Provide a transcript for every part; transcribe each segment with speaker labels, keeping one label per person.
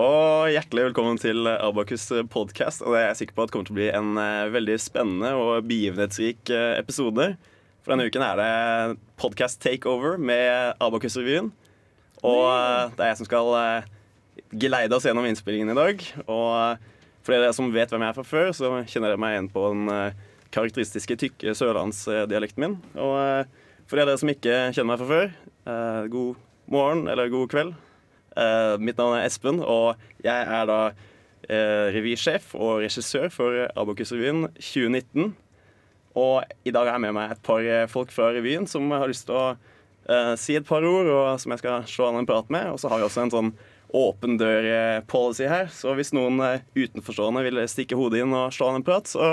Speaker 1: Og hjertelig velkommen til Abakus podcast. Og det er jeg sikker på at kommer til å bli en eh, veldig spennende og begivenhetsrik eh, episode. For denne uken er det podcast takeover med Abakus-revyen. Og eh, det er jeg som skal eh, geleide oss gjennom innspillingen i dag. Og eh, for dere som vet hvem jeg er fra før, så kjenner dere meg igjen på den eh, karakteristiske tykke sørlandsdialekten min. Og eh, for dere som ikke kjenner meg fra før, eh, god morgen eller god kveld. Eh, mitt navn er Espen, og jeg er da eh, revysjef og regissør for Abokus-revyen 2019. Og i dag har jeg med meg et par eh, folk fra revyen som har lyst til å eh, si et par ord, og som jeg skal slå an en prat med. Og så har vi også en sånn åpen dør-policy her, så hvis noen eh, utenforstående vil stikke hodet inn og slå an en prat, så,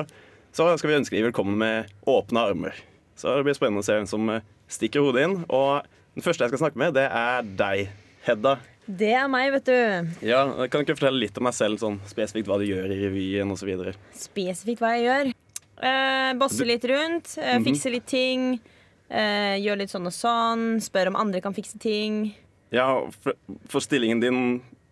Speaker 1: så skal vi ønske de velkommen med åpne armer. Så det blir spennende å se hvem som eh, stikker hodet inn. Og den første jeg skal snakke med, det er deg, Hedda.
Speaker 2: Det er meg, vet du.
Speaker 1: Ja, Kan du ikke fortelle litt om deg selv, sånn spesifikt hva du gjør i revyen osv.?
Speaker 2: Spesifikt hva jeg gjør. Eh, Bosse litt rundt, eh, fikse litt ting. Eh, gjør litt sånn og sånn. Spør om andre kan fikse ting.
Speaker 1: Ja, for, for stillingen din,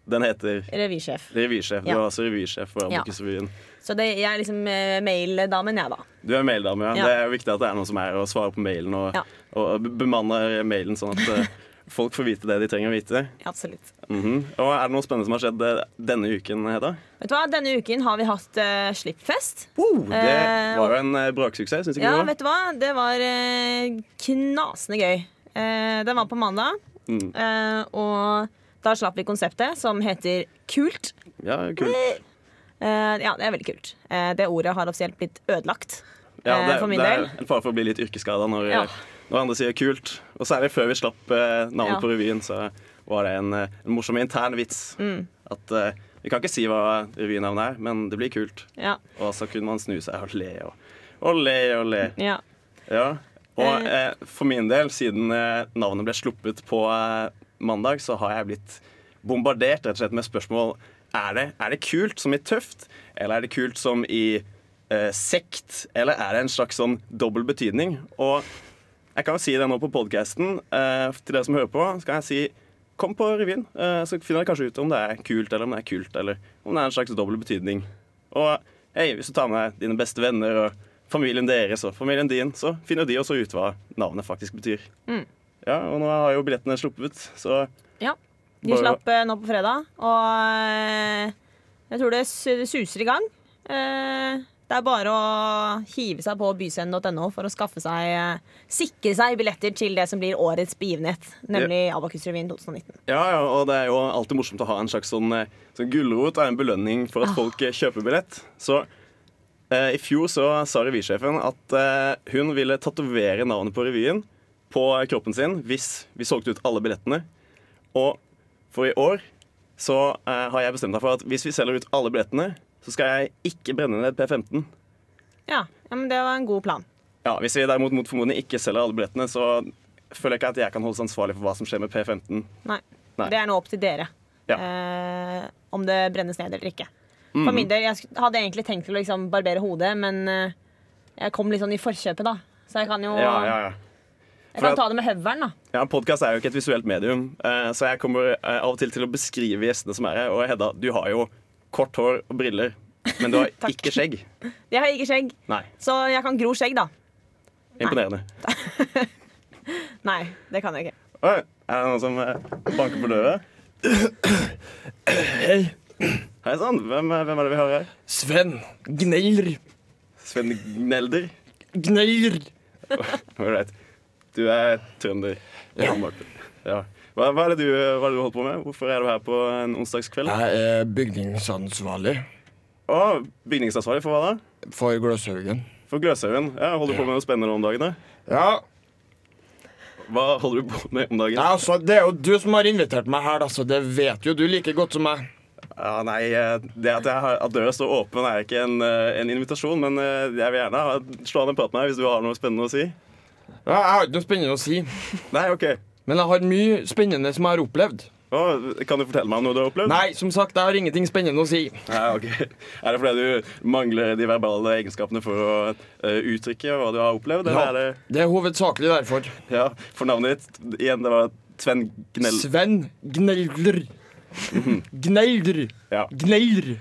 Speaker 1: den heter
Speaker 2: Revysjef.
Speaker 1: revysjef. Du
Speaker 2: Ja.
Speaker 1: er altså revysjef for
Speaker 2: Ja.
Speaker 1: Abokusrevyen.
Speaker 2: Så det, jeg er liksom eh, maildamen, jeg, da.
Speaker 1: Du er maildame, ja.
Speaker 2: Ja.
Speaker 1: Det er jo viktig at det er noen som er her og svarer på mailen, og,
Speaker 2: Ja.
Speaker 1: og be- bemanner mailen sånn at eh, folk får vite det de trenger å vite.
Speaker 2: Absolutt.
Speaker 1: Mhm. Og er det noe spennende som har skjedd eh, denne uken, Hedda?
Speaker 2: Vet du hva, Denne uken har vi hatt eh, slippfest.
Speaker 1: det
Speaker 2: Eh,
Speaker 1: var jo en eh, braksuksess, syns ikke
Speaker 2: Ja,
Speaker 1: du? det?
Speaker 2: vet du hva? Det var eh, knasende gøy. Eh, den var på mandag,
Speaker 1: Mm.
Speaker 2: eh, og da slapp vi konseptet som heter Kult.
Speaker 1: Ja, kult.
Speaker 2: Eh, ja, det er veldig kult. Eh, det ordet har offisielt blitt ødelagt.
Speaker 1: Ja,
Speaker 2: eh,
Speaker 1: det,
Speaker 2: for min
Speaker 1: det er
Speaker 2: del.
Speaker 1: en fare for å bli litt yrkesskada når,
Speaker 2: Ja.
Speaker 1: når andre sier 'kult'. Og særlig før vi slapp eh, navnet
Speaker 2: Ja.
Speaker 1: på revyen, så var det en, eh, en morsom intern vits.
Speaker 2: Mm.
Speaker 1: At eh, vi kan ikke si hva revynavnet er, men det blir kult.
Speaker 2: Ja,
Speaker 1: Og så kunne man snu seg og le og, og le og le.
Speaker 2: ja.
Speaker 1: Ja. Og
Speaker 2: Eh.
Speaker 1: eh, for min del, siden eh, navnet ble sluppet på eh, mandag, så har jeg blitt bombardert rett og slett med spørsmål er det, er det kult som i tøft, eller er det kult som i eh, sekt, eller er det en slags sånn dobbel betydning? Og jeg kan jo si det nå på podkasten eh, til dere som hører på. Så kan jeg si kom på revyen, eh, så finner dere kanskje ut om det er kult, eller om det er kult, eller om det er en slags dobbel betydning. Og hei, hvis du tar med dine beste venner og familien deres og familien din, så finner de også ut hva navnet faktisk betyr. Ja, og nå har jo billettene sluppet, så
Speaker 2: ja. De
Speaker 1: Bare-
Speaker 2: slapp eh, nå på fredag, og eh, jeg tror det su- suser i gang. Eh, det er bare å hive seg på byscenen.no for å skaffe seg, eh, sikre seg billetter til det som blir årets begivenhet, nemlig Abakusrevyen 2019.
Speaker 1: Ja, ja, og det er jo alltid morsomt å ha en slags sånn, eh, sånn gulrot og en belønning for at folk eh, kjøper billett. Så eh, i fjor så sa revysjefen at eh, hun ville tatovere navnet på revyen på kroppen sin hvis vi solgte ut alle billettene. Og for i år så eh, har jeg bestemt meg for at hvis vi selger ut alle billettene, så skal jeg ikke brenne ned P15.
Speaker 2: Ja, ja, men det var en god plan.
Speaker 1: Ja, Hvis vi derimot mot formodning ikke selger alle billettene, så føler jeg ikke at jeg kan holdes ansvarlig for hva som skjer med P15.
Speaker 2: Nei.
Speaker 1: Nei.
Speaker 2: Det er nå opp til dere
Speaker 1: Ja. Mm.
Speaker 2: eh, om det brennes ned eller ikke. For min del, Jeg sk- hadde egentlig tenkt til å liksom barbere hodet, men eh, jeg kom litt sånn i forkjøpet, da. Så jeg kan jo
Speaker 1: Ja, ja, ja.
Speaker 2: Jeg
Speaker 1: for at-
Speaker 2: kan ta det med høvelen, da.
Speaker 1: Ja, Podkast er jo ikke et visuelt medium, eh, så jeg kommer eh, av og til til å beskrive gjestene som er her. Og Hedda, du har jo kort hår og briller, men du har
Speaker 2: Takk.
Speaker 1: ikke skjegg.
Speaker 2: Jeg har ikke skjegg,
Speaker 1: Nei.
Speaker 2: så jeg kan gro skjegg, da.
Speaker 1: Imponerende.
Speaker 2: Nei, det kan jeg ikke.
Speaker 1: Oi, er det noen som eh, banker på døra? Hei sann, hvem, eh, hvem er det vi har her?
Speaker 3: Sven Gneir.
Speaker 1: Sven Gnelder?
Speaker 3: Gneir.
Speaker 1: All right. Du er trønder. Ja. Ja. Hva, hva, er det du, hva er det du holder på med? Hvorfor er du her på en onsdagskveld? Å,
Speaker 3: Jeg er bygningsansvarlig
Speaker 1: bygningsansvarlig for hva da?
Speaker 3: for Gløshaugen.
Speaker 1: For Gløshaugen. Ja, holder du på med noe spennende om dagen? da?
Speaker 3: Ja,
Speaker 1: Hva holder du på med om dagen?
Speaker 3: ja, altså, Det er jo du som har invitert meg her, da, så det vet jo du like godt som meg.
Speaker 1: Ja, nei, eh, Det at, jeg har, at døra står åpen, er ikke en, eh, en invitasjon. Men eh, jeg vil gjerne ha, slå an en prat med deg hvis du har noe spennende å si.
Speaker 3: Ja, jeg har ikke noe spennende å si,
Speaker 1: Nei, OK.
Speaker 3: men jeg har mye spennende som jeg har opplevd.
Speaker 1: Å, kan du fortelle meg om noe du har opplevd?
Speaker 4: Nei, som sagt, jeg har ingenting spennende å si.
Speaker 1: Ja, ok. Er det fordi du mangler de verbale egenskapene for å eh, uttrykke hva du har opplevd?
Speaker 4: Ja,
Speaker 1: Eller er
Speaker 4: det er hovedsakelig derfor.
Speaker 1: det ja, For navnet ditt igjen, det var Sven Gnell...
Speaker 4: Sven Gneldr. Gneldr.
Speaker 1: Ja.
Speaker 4: Gneldr.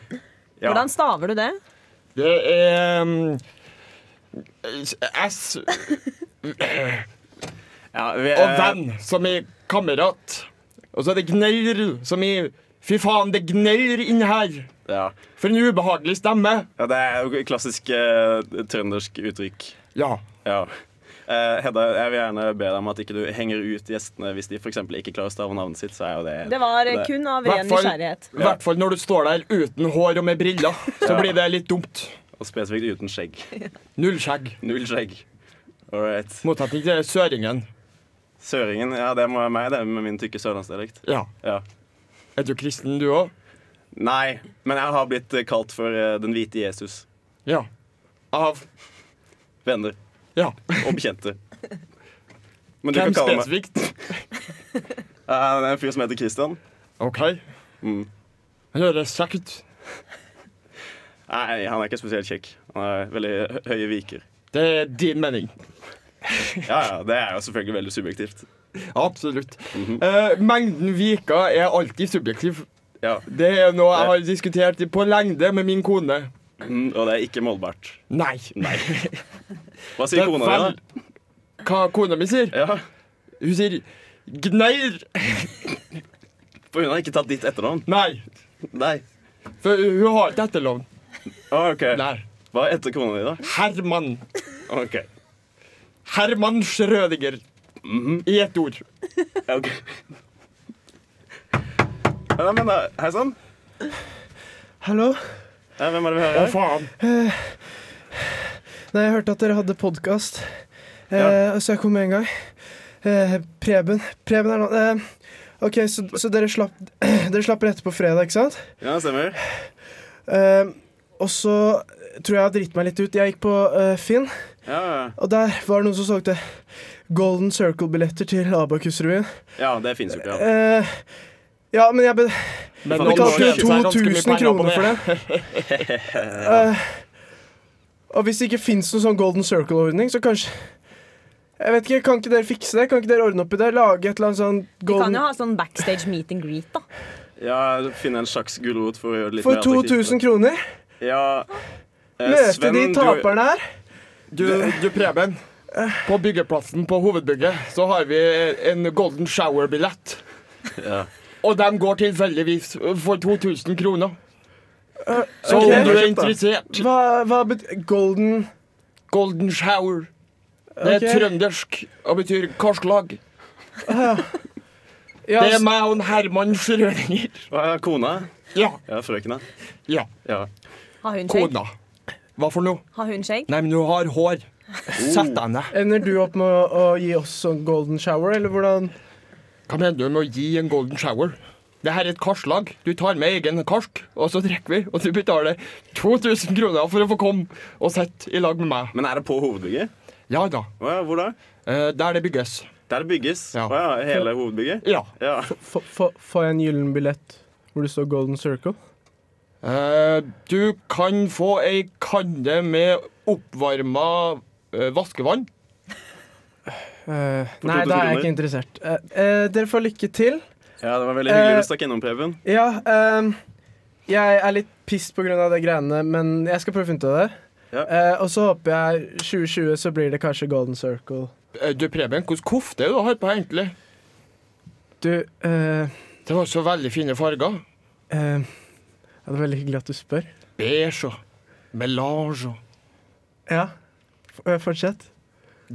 Speaker 1: ja.
Speaker 2: Hvordan staver du det?
Speaker 4: Det er
Speaker 3: mm,
Speaker 4: um, S og
Speaker 1: Ja, vi, eh,
Speaker 4: venn, som i kamerat. Og så er det gneldr, som i Fy faen, det gneldr inni her.
Speaker 1: Ja.
Speaker 4: For en ubehagelig stemme.
Speaker 1: ja, det er jo klassisk eh, trøndersk uttrykk.
Speaker 4: Ja.
Speaker 1: Ja. Eh, Hedda, jeg vil gjerne be deg om at ikke du henger ut gjestene hvis de for eksempel ikke klarer å stave navnet sitt. så er jo det...
Speaker 2: Det var eh, kun av ren
Speaker 4: Hvertfall-
Speaker 2: nysgjerrighet.
Speaker 4: I hvert fall når du står der uten hår og med briller. Så
Speaker 1: Ja.
Speaker 4: blir det litt dumt.
Speaker 1: Og spesifikt uten skjegg.
Speaker 4: Null skjegg.
Speaker 1: Null skjegg. All right.
Speaker 4: Motsetning til søringen.
Speaker 1: Søringen, ja, det må være meg, det, med min tykke sørlandsdialekt.
Speaker 4: Ja.
Speaker 1: Ja.
Speaker 4: Er du kristen, du òg?
Speaker 1: Nei, men jeg har blitt eh, kalt for eh, den hvite Jesus.
Speaker 4: Ja. Av
Speaker 1: Venner
Speaker 4: Ja.
Speaker 1: og bekjente. Men du kan
Speaker 4: Hvem
Speaker 1: kalle meg
Speaker 4: spesifikt?
Speaker 1: Eh, Det er en fyr som heter Christian.
Speaker 4: OK.
Speaker 1: Mm.
Speaker 4: Høres kjekt ut.
Speaker 1: Nei, han er ikke spesielt kjekk. Han er veldig hø- høye viker.
Speaker 4: Det er din mening.
Speaker 1: Ja, ja, Det er jo selvfølgelig veldig subjektivt.
Speaker 4: Absolutt.
Speaker 1: Mhm.
Speaker 4: Eh, mengden viker er alltid subjektiv.
Speaker 1: Ja.
Speaker 4: Det er noe jeg har diskutert i- på lengde med min kone.
Speaker 1: Mm, og det er ikke målbart.
Speaker 4: Nei. Nei.
Speaker 1: Hva sier kona di, da?
Speaker 4: Hva kona mi sier?
Speaker 1: Ja,
Speaker 4: Hun sier gneir.
Speaker 1: For hun har ikke tatt ditt etternavn?
Speaker 4: Nei.
Speaker 1: Nei.
Speaker 4: For hun har ikke etternavn.
Speaker 1: Å, ok.
Speaker 4: Nei.
Speaker 1: Hva er etter kona di, da?
Speaker 4: Herman.
Speaker 1: Ok.
Speaker 4: Herman Schrødinger. I ett ord.
Speaker 1: Ja, ok. Ja, men da, Hei sann.
Speaker 5: Hallo?
Speaker 1: Ja, hvem er det vi
Speaker 4: Å,
Speaker 1: hører her?
Speaker 4: faen.
Speaker 5: Nei, jeg hørte at dere hadde podkast, eh,
Speaker 1: Ja.
Speaker 5: så jeg kom med en gang. Eh, Preben. Preben er nå eh, OK, så, så dere, slapp, dere slapper etter på fredag, ikke sant?
Speaker 1: Ja, stemmer.
Speaker 5: Eh, og så tror jeg jeg har dritt meg litt ut. Jeg gikk på eh, Finn,
Speaker 1: Ja, ja.
Speaker 5: og der var det noen som solgte Golden Circle-billetter til Abakus-revyen.
Speaker 1: ja det fins jo ikke. Ja.
Speaker 5: Eh, ja, men jeg be
Speaker 4: Men
Speaker 1: Vi
Speaker 4: noen
Speaker 1: kalte
Speaker 4: må
Speaker 1: jo
Speaker 4: kjøpe seg ganske mye
Speaker 5: 2000
Speaker 4: penger på
Speaker 5: kroner for det. Eh, og hvis det ikke fins noen sånn Golden Circle-ordning, så kanskje Jeg vet ikke, Kan ikke dere fikse det? Kan ikke dere ordne opp i det? Lage et eller annet sånn
Speaker 2: De kan
Speaker 5: golden
Speaker 2: jo ha sånn backstage meet and greet, da.
Speaker 1: ja, Finne en slags gulrot for å gjøre det litt
Speaker 5: For 2000 kroner?
Speaker 1: Ja. Eh,
Speaker 5: Møte
Speaker 1: Sven,
Speaker 5: de
Speaker 1: du-
Speaker 5: taperne her?
Speaker 4: Du, du Preben, på byggeplassen på hovedbygget så har vi en golden shower-billett.
Speaker 1: Ja.
Speaker 4: Og de går tilfeldigvis for 2000 kroner. Så
Speaker 5: ok.
Speaker 4: om du er interessert
Speaker 5: Hva, hva bet... Golden
Speaker 4: Golden shower. Det er
Speaker 5: Ok.
Speaker 4: trøndersk og betyr karslag.
Speaker 5: Ja,
Speaker 4: Det er
Speaker 5: s-
Speaker 4: meg og en Herman Schrødinger.
Speaker 1: Hva er kona?
Speaker 4: Ja.
Speaker 1: Ja, frøkena.
Speaker 4: ja.
Speaker 1: Ja.
Speaker 2: Har hun skjegg?
Speaker 4: Kona. Hva for noe? Oh.
Speaker 2: Har hun skjegg?
Speaker 4: Nei, men du har hår. Sett deg ned.
Speaker 5: Ender du opp med å, å gi oss sånn golden shower, eller hvordan
Speaker 4: Hva mener du med å gi en golden shower? Det her er et karslag. Du tar med egen karsk, og så drikker vi. Og du betaler 2000 kroner for å få komme og sitte i lag med meg.
Speaker 1: Men er det på hovedbygget?
Speaker 4: Ja da.
Speaker 1: Å ja, hvor da?
Speaker 4: Eh, der det bygges.
Speaker 1: Der det bygges?
Speaker 4: Ja.
Speaker 1: Å ja, hele hovedbygget?
Speaker 4: Ja.
Speaker 1: Ja.
Speaker 5: Få- få- Får jeg en gyllen billett hvor det står Golden Circle?
Speaker 4: Eh, du kan få ei kanne med oppvarma eh, vaskevann.
Speaker 5: Eh,
Speaker 1: For
Speaker 5: nei,
Speaker 1: 2000
Speaker 5: da er jeg
Speaker 1: kroner.
Speaker 5: ikke interessert. Eh, eh, dere får lykke til.
Speaker 1: ja, det var veldig hyggelig
Speaker 5: Eh.
Speaker 1: du stakk innom, Preben.
Speaker 5: Ja, ehm, jeg er litt piss på grunn av de greiene, men jeg skal prøve å finne ut av det.
Speaker 1: Ja.
Speaker 5: Eh, og så håper jeg 2020 så blir det kanskje Golden Circle.
Speaker 4: Eh, du Preben, hvilken kofte er det du har på egentlig?
Speaker 5: Du, eh,
Speaker 4: Det var så veldig fine farger.
Speaker 5: eh, ja, det er veldig hyggelig at du spør.
Speaker 4: Beige og melange og
Speaker 5: Ja, F eh, fortsett.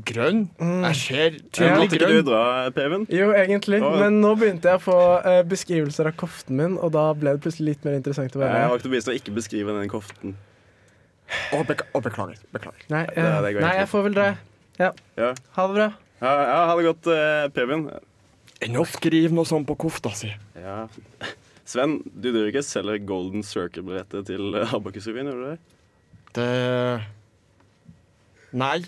Speaker 4: grønn. Mm. Jeg
Speaker 1: Ja,
Speaker 4: ser tydelig
Speaker 1: måtte ikke du
Speaker 4: grønn.
Speaker 1: dra, Preben?
Speaker 5: Jo, egentlig,
Speaker 1: Ja.
Speaker 5: men nå begynte jeg å få eh, beskrivelser av koften min, og da ble det plutselig litt mer interessant å
Speaker 1: Jeg
Speaker 5: være
Speaker 1: har
Speaker 5: her.
Speaker 1: ikke noe bevis til å ikke beskrive den koften.
Speaker 4: Å, bek- å, beklager. Beklager.
Speaker 5: Nei, eh,
Speaker 1: Ja, det går
Speaker 5: nei,
Speaker 1: helt
Speaker 5: jeg får vel dra. Ja.
Speaker 1: Ja.
Speaker 5: Ha det bra.
Speaker 1: Ja, ja ha det godt, eh, Preben.
Speaker 4: Enn å skrive noe sånt på kofta si.
Speaker 1: Ja. Sven, du driver ikke og selger Golden Circle-brettet til eh, Abakus-revyen, gjør du det?
Speaker 4: Det Nei.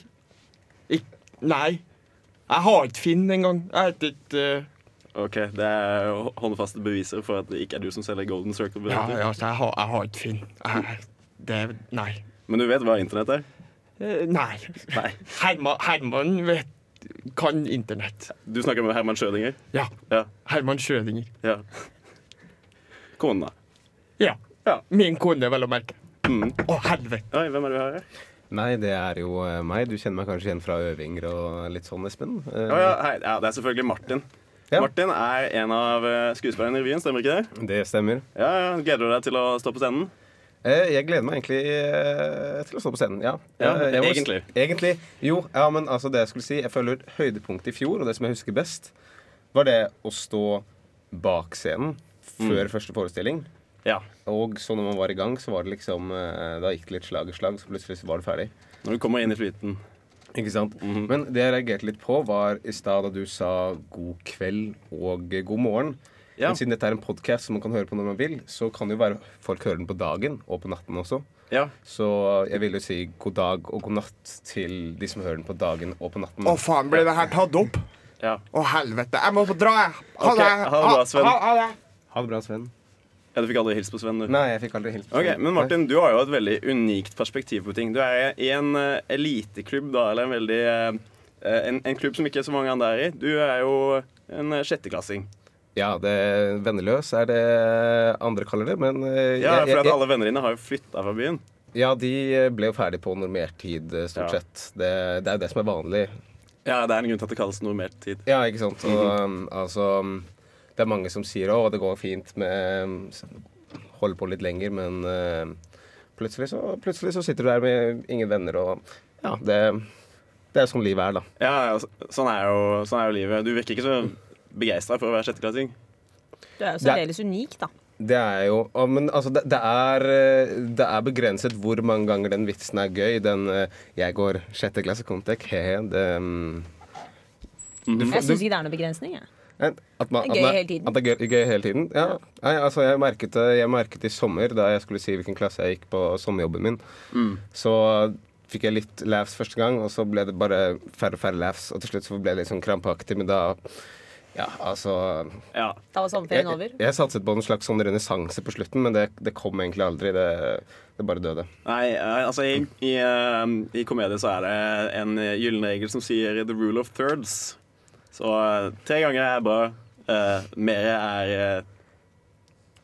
Speaker 4: Ik... Nei. Jeg har ikke Finn engang. Jeg heter ikke eh,
Speaker 1: Ok, Det er hå- håndfaste beviser for at det ikke er du som selger Golden
Speaker 3: Ja,
Speaker 1: Circle-billetter.
Speaker 3: ja, altså, jeg, har, jeg har ikke Finn. Jeg, det Nei.
Speaker 1: Men du vet hva internett er?
Speaker 3: Eh, Nei.
Speaker 1: Nei.
Speaker 3: Herman, Herman vet, kan internett.
Speaker 1: Du snakker med Herman Schødinger?
Speaker 3: Ja.
Speaker 1: Ja.
Speaker 3: Herman Schrødinger.
Speaker 1: ja. Kona.
Speaker 3: Ja.
Speaker 1: Ja.
Speaker 3: Min kone, vel å merke.
Speaker 1: Mm.
Speaker 3: Å, helvete.
Speaker 1: Oi, hvem er det vi har her?
Speaker 6: Nei, det er jo eh, meg. Du kjenner meg kanskje igjen fra øvinger og litt sånn, Espen? Eh,
Speaker 1: Å ja, hei, ja, det er selvfølgelig Martin.
Speaker 6: Ja.
Speaker 1: Martin er en av eh, skuespillerne i revyen, stemmer ikke det?
Speaker 6: Det stemmer.
Speaker 1: Ja, ja, Gleder du deg til å stå på scenen?
Speaker 6: Eh, Jeg gleder meg egentlig eh, til å stå på scenen. Ja,
Speaker 1: Ja,
Speaker 6: Eh, jeg var-
Speaker 1: egentlig.
Speaker 6: Egentlig. Jo, ja, men altså det jeg skulle si Jeg føler høydepunktet i fjor, og det som jeg husker best, var det å stå bak scenen
Speaker 1: Mm.
Speaker 6: før første forestilling.
Speaker 1: Ja.
Speaker 6: Og så når man var i gang, så var det liksom eh, Da gikk det litt slag i slag, så plutselig så var det ferdig.
Speaker 1: Når du kommer inn i flyten.
Speaker 6: Ikke sant?
Speaker 1: Mhm.
Speaker 6: Men det jeg reagerte litt på, var i stad da du sa god kveld og eh, god morgen.
Speaker 1: Ja.
Speaker 6: Men siden dette er en podkast som man kan høre på når man vil, så kan det jo være folk hører den på dagen og på natten også.
Speaker 1: Ja.
Speaker 6: Så jeg vil jo si god dag og god natt til de som hører den på dagen og på natten.
Speaker 3: Å, faen, ble det her tatt opp?
Speaker 1: ja.
Speaker 3: Å, helvete. Jeg må få dra, jeg. Ha
Speaker 1: Ok,
Speaker 3: det.
Speaker 1: ha det bra, Sven.
Speaker 3: Ha, ha det.
Speaker 6: Ha det bra, Sven.
Speaker 1: ja, Du fikk aldri hilst på Sven, du.
Speaker 6: Nei, jeg fikk aldri hilst på
Speaker 1: Ok,
Speaker 6: Sven.
Speaker 1: Men Martin, du har jo et veldig unikt perspektiv på ting. Du er i en eh, eliteklubb, da, eller en veldig eh, en, en klubb som ikke så mange andre er i. Du er jo en eh, sjetteklassing.
Speaker 6: Nei. Ja, det venneløs er det andre kaller det, men eh,
Speaker 1: Ja,
Speaker 6: jeg-
Speaker 1: for
Speaker 6: jeg-
Speaker 1: at alle vennene dine har jo flytta fra byen.
Speaker 6: ja, de ble jo ferdig på normert tid, eh, stort
Speaker 1: Ja.
Speaker 6: sett. Det, det er jo det som er vanlig.
Speaker 1: Ja, Det er en grunn til at det kalles normert tid.
Speaker 6: Ja, ikke sant. Og, um, altså, um, det er mange som sier å, det går fint med um, s- Holde på litt lenger, men uh, plutselig, så, plutselig så sitter du der med ingen venner, og ja, det, det er sånn livet er, da.
Speaker 1: Ja, ja, så- sånn er jo, sånn er jo livet. Du virker ikke så begeistra for å være sjetteklassing.
Speaker 2: Du er jo
Speaker 6: Det er-
Speaker 2: særdeles unik, da.
Speaker 6: Det er jo å, Men altså, det, det, er, eh, det er begrenset hvor mange ganger den vitsen er gøy. Den eh, 'jeg går sjette klasse Comtec', he-he, det um, du får-
Speaker 2: Jeg
Speaker 6: du-
Speaker 2: syns ikke det er noen begrensning. Jeg.
Speaker 6: At, man,
Speaker 2: Det er
Speaker 6: at
Speaker 2: gøy
Speaker 6: man-
Speaker 2: hele tiden.
Speaker 6: At det er gøy, gøy hele tiden? Ja. Nei, altså, jeg merket det jeg merket i sommer, da jeg skulle si hvilken klasse jeg gikk på sommerjobben min. Så fikk jeg litt laughs første gang, og så ble det bare færre og færre laughs. Og til slutt så ble jeg litt sånn krampaktig, men da Ja, altså
Speaker 1: Ja.
Speaker 2: Da var sommerferien
Speaker 6: Jeg,
Speaker 2: over.
Speaker 6: jeg satset på en slags sånn renessanse på slutten, men det, det kom egentlig aldri. Det, det bare døde.
Speaker 1: Nei, eh, altså i, i, eh, i komedie så er det en gyllen regel som sier 'the rule of thirds'. Så eh, tre ganger er bra. Uh, mer er eh,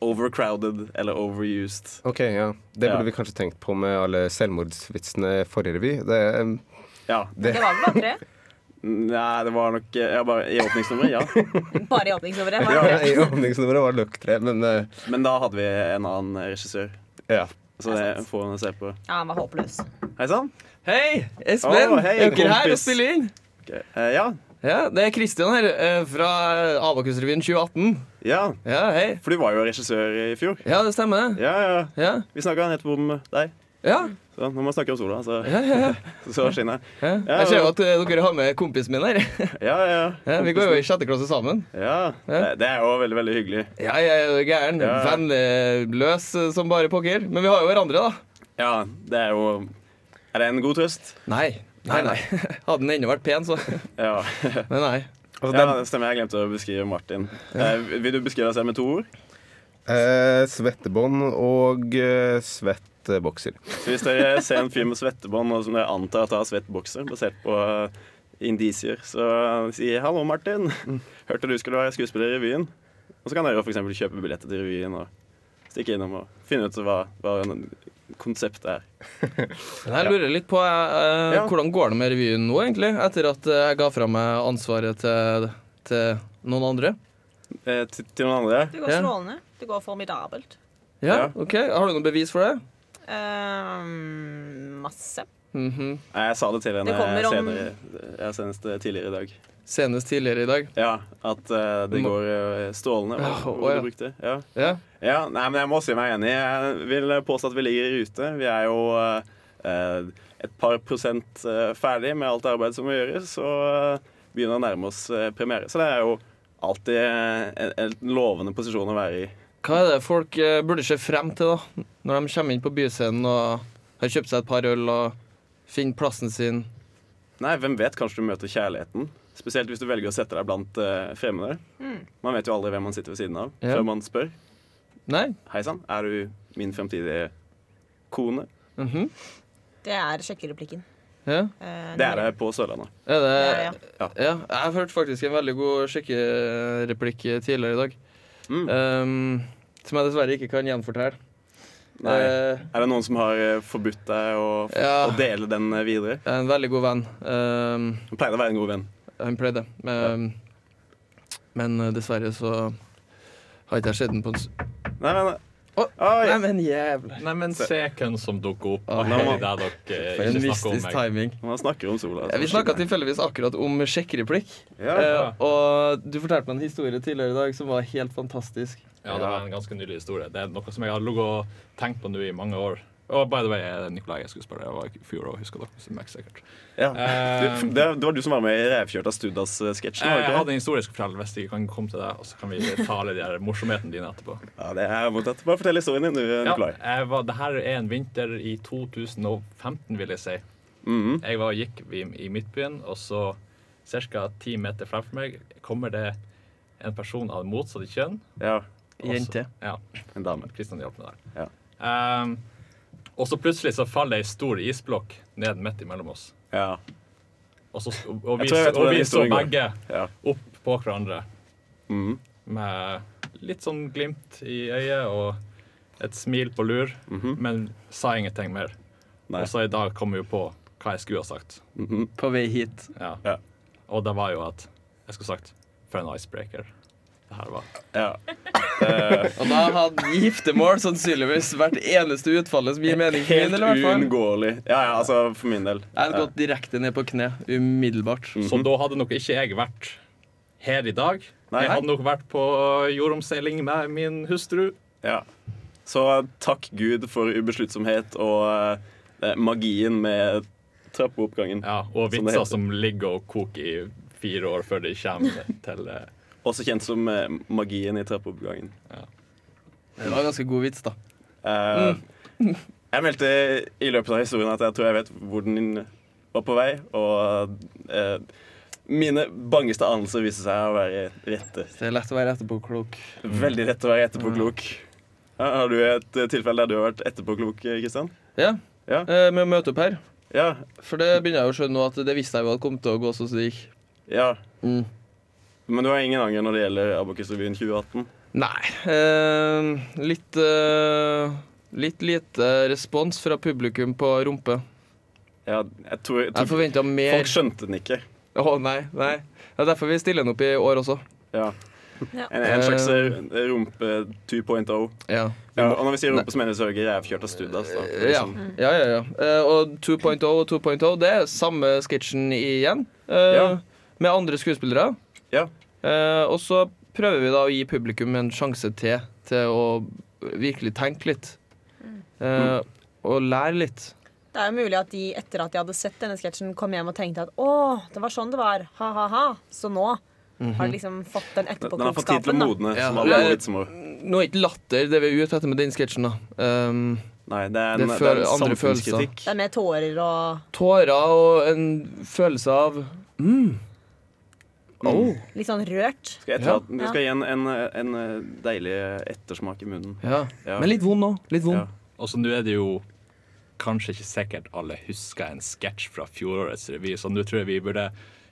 Speaker 1: overcrowded eller overused.
Speaker 6: Ok, ja. Det burde
Speaker 1: Ja.
Speaker 6: vi kanskje tenkt på med alle selvmordsvitsene i forrige revy. Det,
Speaker 1: Ja.
Speaker 6: det,
Speaker 2: Det var vel bare tre.
Speaker 1: Nei, det var nok eh, ja, bare, I åpningsnummeret, ja.
Speaker 2: Bare i åpningsnummeret.
Speaker 6: ja,
Speaker 2: var det
Speaker 6: I åpningsnummeret var løk tre, men eh,
Speaker 1: Men da hadde vi en annen regissør.
Speaker 6: ja.
Speaker 1: Så det får man se på.
Speaker 2: tre. Ja, han var håpløs.
Speaker 1: Hei sann.
Speaker 4: Hei, Espen.
Speaker 1: Å, hei,
Speaker 4: er dere her og
Speaker 1: kompis.
Speaker 4: spiller inn?
Speaker 1: Ok, eh, ja.
Speaker 4: Ja, Det er Kristian her eh, fra Abakusrevyen 2018.
Speaker 1: ja.
Speaker 4: Ja, hei.
Speaker 1: For du var jo regissør i fjor.
Speaker 4: Ja, det stemmer, det.
Speaker 1: Ja, ja.
Speaker 4: Ja.
Speaker 1: Vi snakka nettopp om eh, deg.
Speaker 4: ja,
Speaker 1: Så når man snakker om sola, så,
Speaker 4: ja, ja,
Speaker 1: så skinner den.
Speaker 4: ja.
Speaker 1: Ja,
Speaker 4: Jeg ser jo
Speaker 1: ja.
Speaker 4: at eh, dere har med kompisen min her.
Speaker 1: Ja, ja.
Speaker 4: Ja, vi går jo i sjette klasse sammen.
Speaker 1: Ja, det det er jo veldig, veldig hyggelig.
Speaker 4: Ja, jeg er jo gæren.
Speaker 1: Ja.
Speaker 4: Vennløs eh, som bare pokker. Men vi har jo hverandre, da.
Speaker 1: Ja, det er jo Er det en god trøst?
Speaker 4: Nei. Nei, nei. Hadde den ennå vært pen, så.
Speaker 1: Ja.
Speaker 4: Men nei.
Speaker 6: Altså, det
Speaker 1: ja,
Speaker 6: er
Speaker 1: det stemmer. Jeg glemte å beskrive Martin. Eh, vil du beskrive deg selv med to ord?
Speaker 6: Eh, svettebånd og eh, svett eh, bokser.
Speaker 1: Så Hvis dere ser en fyr med svettebånd og som dere antar at har svett bokser, basert på eh, indisier, så si 'hallo, Martin'. Hørte du skulle være skuespiller i revyen? Og så kan dere for eksempel kjøpe billetter til revyen og stikke innom og finne ut hva, hva konseptet er.
Speaker 4: Men jeg lurer litt på eh,
Speaker 1: Ja.
Speaker 4: hvordan går det med revyen nå, egentlig? Etter at eh, jeg ga fra meg ansvaret til, til noen andre?
Speaker 1: Eh, til, til noen andre?
Speaker 2: Det går
Speaker 4: Ja.
Speaker 2: strålende. Det går formidabelt.
Speaker 4: Ja,
Speaker 1: Ja.
Speaker 4: ok. Har du noe bevis for det?
Speaker 2: Ehm, masse.
Speaker 4: Mhm.
Speaker 1: Nei, Jeg sa det til henne
Speaker 2: Det kommer om-
Speaker 1: senere, ja, senest eh, tidligere i dag.
Speaker 4: Senest tidligere i dag.
Speaker 1: Ja, at eh, det går
Speaker 4: Må-
Speaker 1: eh, strålende. Hva
Speaker 4: Ja,
Speaker 1: hva
Speaker 4: å, ja.
Speaker 1: du brukte. Ja.
Speaker 4: Ja.
Speaker 1: ja, nei, men jeg må si meg enig. Jeg vil eh, påstå at vi ligger i rute. Vi er jo eh, eh, et par prosent eh, ferdig med alt arbeid som må gjøres, og eh, begynner å nærme oss eh, premiere. Så det er jo alltid eh, en, en lovende posisjon å være i.
Speaker 4: Hva er det folk eh, burde se frem til, da? Når de kommer inn på byscenen og har kjøpt seg et par øl og finner plassen sin.
Speaker 1: Nei, hvem vet? Kanskje du møter kjærligheten Spesielt hvis du velger å sette deg blant eh, fremmede. Man vet jo aldri hvem man sitter ved siden av
Speaker 4: Ja.
Speaker 1: før man spør.
Speaker 4: Nei?
Speaker 1: Hei sann, er du min fremtidige kone?
Speaker 4: Mhm.
Speaker 2: Det er sjekkereplikken.
Speaker 4: ja.
Speaker 2: Eh,
Speaker 1: Det er det på Sørlandet.
Speaker 4: Er det
Speaker 2: Ja, ja.
Speaker 4: ja. Jeg hørte faktisk en veldig god sjekkereplikk tidligere i dag.
Speaker 1: Mm.
Speaker 4: ehm, som jeg dessverre ikke kan gjenfortelle.
Speaker 1: Nei.
Speaker 4: Eh,
Speaker 1: Er det noen som har eh, forbudt deg å,
Speaker 4: Ja.
Speaker 1: å dele den eh, videre?
Speaker 4: jeg er en veldig god venn. Ehm,
Speaker 1: Han pleier å være en god venn.
Speaker 4: han pleide. Ehm, Men eh, dessverre så har ikke jeg sett den på en s-
Speaker 1: Nei, men,
Speaker 4: Å,
Speaker 1: Oi.
Speaker 4: Nei, men jævla
Speaker 7: Nei, men se hvem som dukker opp.
Speaker 4: Ah,
Speaker 1: nei,
Speaker 7: Akkurat det dere eh,
Speaker 4: For en
Speaker 7: ikke snakker om
Speaker 4: mystisk
Speaker 7: meg.
Speaker 4: timing.
Speaker 1: han snakker om sola.
Speaker 4: Ja, Vi snakka tilfeldigvis akkurat om sjekkereplikk.
Speaker 1: ja.
Speaker 4: Eh, og du fortalte meg en historie tidligere i dag som var helt fantastisk.
Speaker 7: Ja, det var en ganske nylig historie. Det er noe som jeg har ligget og tenkt på nå i mange år. Og by the way, Nikolai, jeg skulle spørre deg, jeg var i fjor og husker dere som meg sikkert.
Speaker 1: Ja.
Speaker 7: Eh,
Speaker 1: Du, det, det var du som var med i Revkjørt av Studas-sketsjen?
Speaker 4: Eh,
Speaker 1: var det
Speaker 7: jeg
Speaker 1: ikke
Speaker 7: hadde
Speaker 1: det?
Speaker 7: en historie jeg skulle fortelle hvis jeg kan komme til deg, og så kan vi tale de her morsomhetene dine etterpå.
Speaker 1: Ja, det er mottatt. Bare fortell historien din, du, eh,
Speaker 7: Ja,
Speaker 1: Nikolai.
Speaker 7: jeg var, det her er en vinter i 2015, vil jeg si.
Speaker 1: Mhm.
Speaker 7: Jeg var og gikk i, i Midtbyen, og så ca. ti meter fremfor meg kommer det en person av motsatt kjønn.
Speaker 1: Ja,
Speaker 7: og så-
Speaker 4: Jente.
Speaker 7: Ja,
Speaker 1: en dame.
Speaker 7: Kristian hjalp meg der. Ehm, og så plutselig så faller ei stor isblokk ned midt imellom oss.
Speaker 1: Ja.
Speaker 7: Og, så, og vi,
Speaker 1: Jeg tror jeg vet hvor
Speaker 7: og
Speaker 1: den
Speaker 7: vi så
Speaker 1: historien går.
Speaker 7: begge
Speaker 1: Ja.
Speaker 7: opp på hverandre
Speaker 1: Mhm.
Speaker 7: med litt sånn glimt i øyet og et smil på lur, men sa ingenting mer.
Speaker 1: Mhm. Nei.
Speaker 7: Og så i dag kom jeg jo på hva jeg skulle ha sagt.
Speaker 1: Mhm.
Speaker 4: På vei hit.
Speaker 7: Ja.
Speaker 1: Ja.
Speaker 7: Og det var jo at jeg skulle sagt for en icebreaker. Det her var
Speaker 1: ja.
Speaker 4: Og da hadde giftermål sannsynligvis hvert eneste utfallet som gir mening for min,
Speaker 1: Helt
Speaker 4: eller i hvert fall.
Speaker 1: uunngåelig. Ja, ja, altså for min del.
Speaker 4: Jeg hadde gått direkte ned på kne umiddelbart.
Speaker 1: Mhm.
Speaker 7: Så da hadde nok ikke jeg vært her i dag.
Speaker 1: Nei.
Speaker 7: Jeg hadde nok vært på jordomseiling med min hustru.
Speaker 1: Ja. Så eh, takk Gud for ubesluttsomhet og eh, magien med trappeoppgangen.
Speaker 7: Ja,
Speaker 1: Som
Speaker 7: og
Speaker 1: det
Speaker 7: vitser
Speaker 1: heter.
Speaker 7: som ligger og koker i fire år før de kommer til eh,
Speaker 1: Også kjent som eh, magien i trappeoppgangen.
Speaker 4: Det var en ganske god vits, da.
Speaker 1: Eh, jeg meldte i løpet av historien at jeg tror jeg vet hvor den var på vei, og eh, mine bangeste anelser viste seg å være rette.
Speaker 4: Det er lett å være etterpåklok.
Speaker 1: Veldig rett å være etterpåklok. Ja, har du et eh, tilfelle der du har vært etterpåklok, Kristian?
Speaker 4: Ja.
Speaker 1: Ja.
Speaker 4: Eh, Med å møte opp her.
Speaker 1: Ja.
Speaker 4: For det begynner jeg jo å skjønne nå at det visste jeg jo hadde kommet til å gå sånn som det gikk.
Speaker 1: ja.
Speaker 4: Mm.
Speaker 1: Men du har ingen anger når det gjelder Abokusrevyen 2018?
Speaker 4: Nei. eh, litt eh, Litt lite respons fra publikum på rumpe.
Speaker 1: Ja, jeg tror, jeg
Speaker 4: Jeg
Speaker 1: tror
Speaker 4: forventa mer
Speaker 1: Folk skjønte den ikke.
Speaker 4: Å, nei. nei. Det er derfor vi stiller den opp i år også.
Speaker 1: Ja.
Speaker 2: Ja.
Speaker 1: En, en slags
Speaker 4: Eh.
Speaker 1: eh, rumpe 2.0.
Speaker 4: Ja.
Speaker 1: Ja, og når vi sier rumpe, så mener vi selvfølgelig rævkjørt av altså. studas. Da.
Speaker 4: Eh, Ja, ja, ja. ja. Eh, og 2.0 og 2.0, det er samme sketsjen igjen. eh,
Speaker 1: Ja.
Speaker 4: Med andre skuespillere.
Speaker 1: Ja.
Speaker 4: Eh, og så prøver vi da å gi publikum en sjanse til til å virkelig tenke litt. Eh, og lære litt.
Speaker 2: Det er jo mulig at de etter at de hadde sett denne sketsjen, kom hjem og tenkte at å, det var sånn det var. Ha-ha-ha. Så nå har de liksom fått den
Speaker 1: Mhm. Den den har fått tid til
Speaker 2: etterpåklokskapen.
Speaker 1: å
Speaker 2: da.
Speaker 1: modne.
Speaker 4: Ja.
Speaker 1: Som alle
Speaker 4: Ja.
Speaker 1: gode vitser må.
Speaker 4: Nå er ikke latter det vi er ute etter med den sketsjen. da. Eh,
Speaker 1: Nei, det er en,
Speaker 4: Det
Speaker 1: det
Speaker 4: fører
Speaker 1: er en
Speaker 4: andre
Speaker 1: samfunnskritikk.
Speaker 2: Det er mer tårer og
Speaker 4: tårer og en følelse av mm. Oh.
Speaker 2: litt sånn rørt.
Speaker 1: Skal etter,
Speaker 4: Ja.
Speaker 1: at, det skal gi en, en, en eh, deilig ettersmak i munnen.
Speaker 4: Ja.
Speaker 1: Ja.
Speaker 4: Men litt vond òg. Litt vond.
Speaker 1: Ja.
Speaker 7: Og så nå er det jo kanskje ikke sikkert alle husker en sketsj fra fjorårets revy, så nå tror jeg vi burde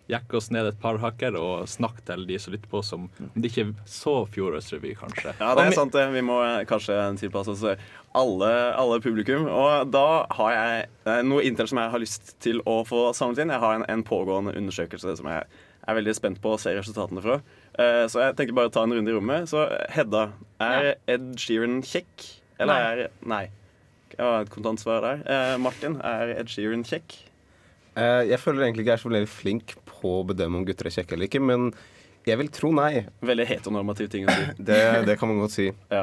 Speaker 7: jekke oss ned et par hakker og snakke til de som lytter på, som om de ikke så fjorårets revy, kanskje.
Speaker 1: Ja, det er sant det. Vi må eh, kanskje tilpasse oss eh, alle, alle publikum. Og da har jeg eh, noe inntil som jeg har lyst til å få samlet inn. Jeg har en, en pågående undersøkelse som jeg er veldig spent på å se resultatene fra. Eh, Så jeg tenker bare å ta en runde i rommet. Så eh, Hedda, er Ed Sheeran kjekk? Eller er Nei. Jeg har et kontant svar der. Eh, Martin, er Ed Sheeran kjekk?
Speaker 6: Eh, jeg føler egentlig ikke jeg er så veldig flink på å bedømme om gutter er kjekke eller ikke, men jeg vil tro nei.
Speaker 1: Veldig heteronormativ ting å si.
Speaker 6: Det, det kan man godt si.
Speaker 1: Ja.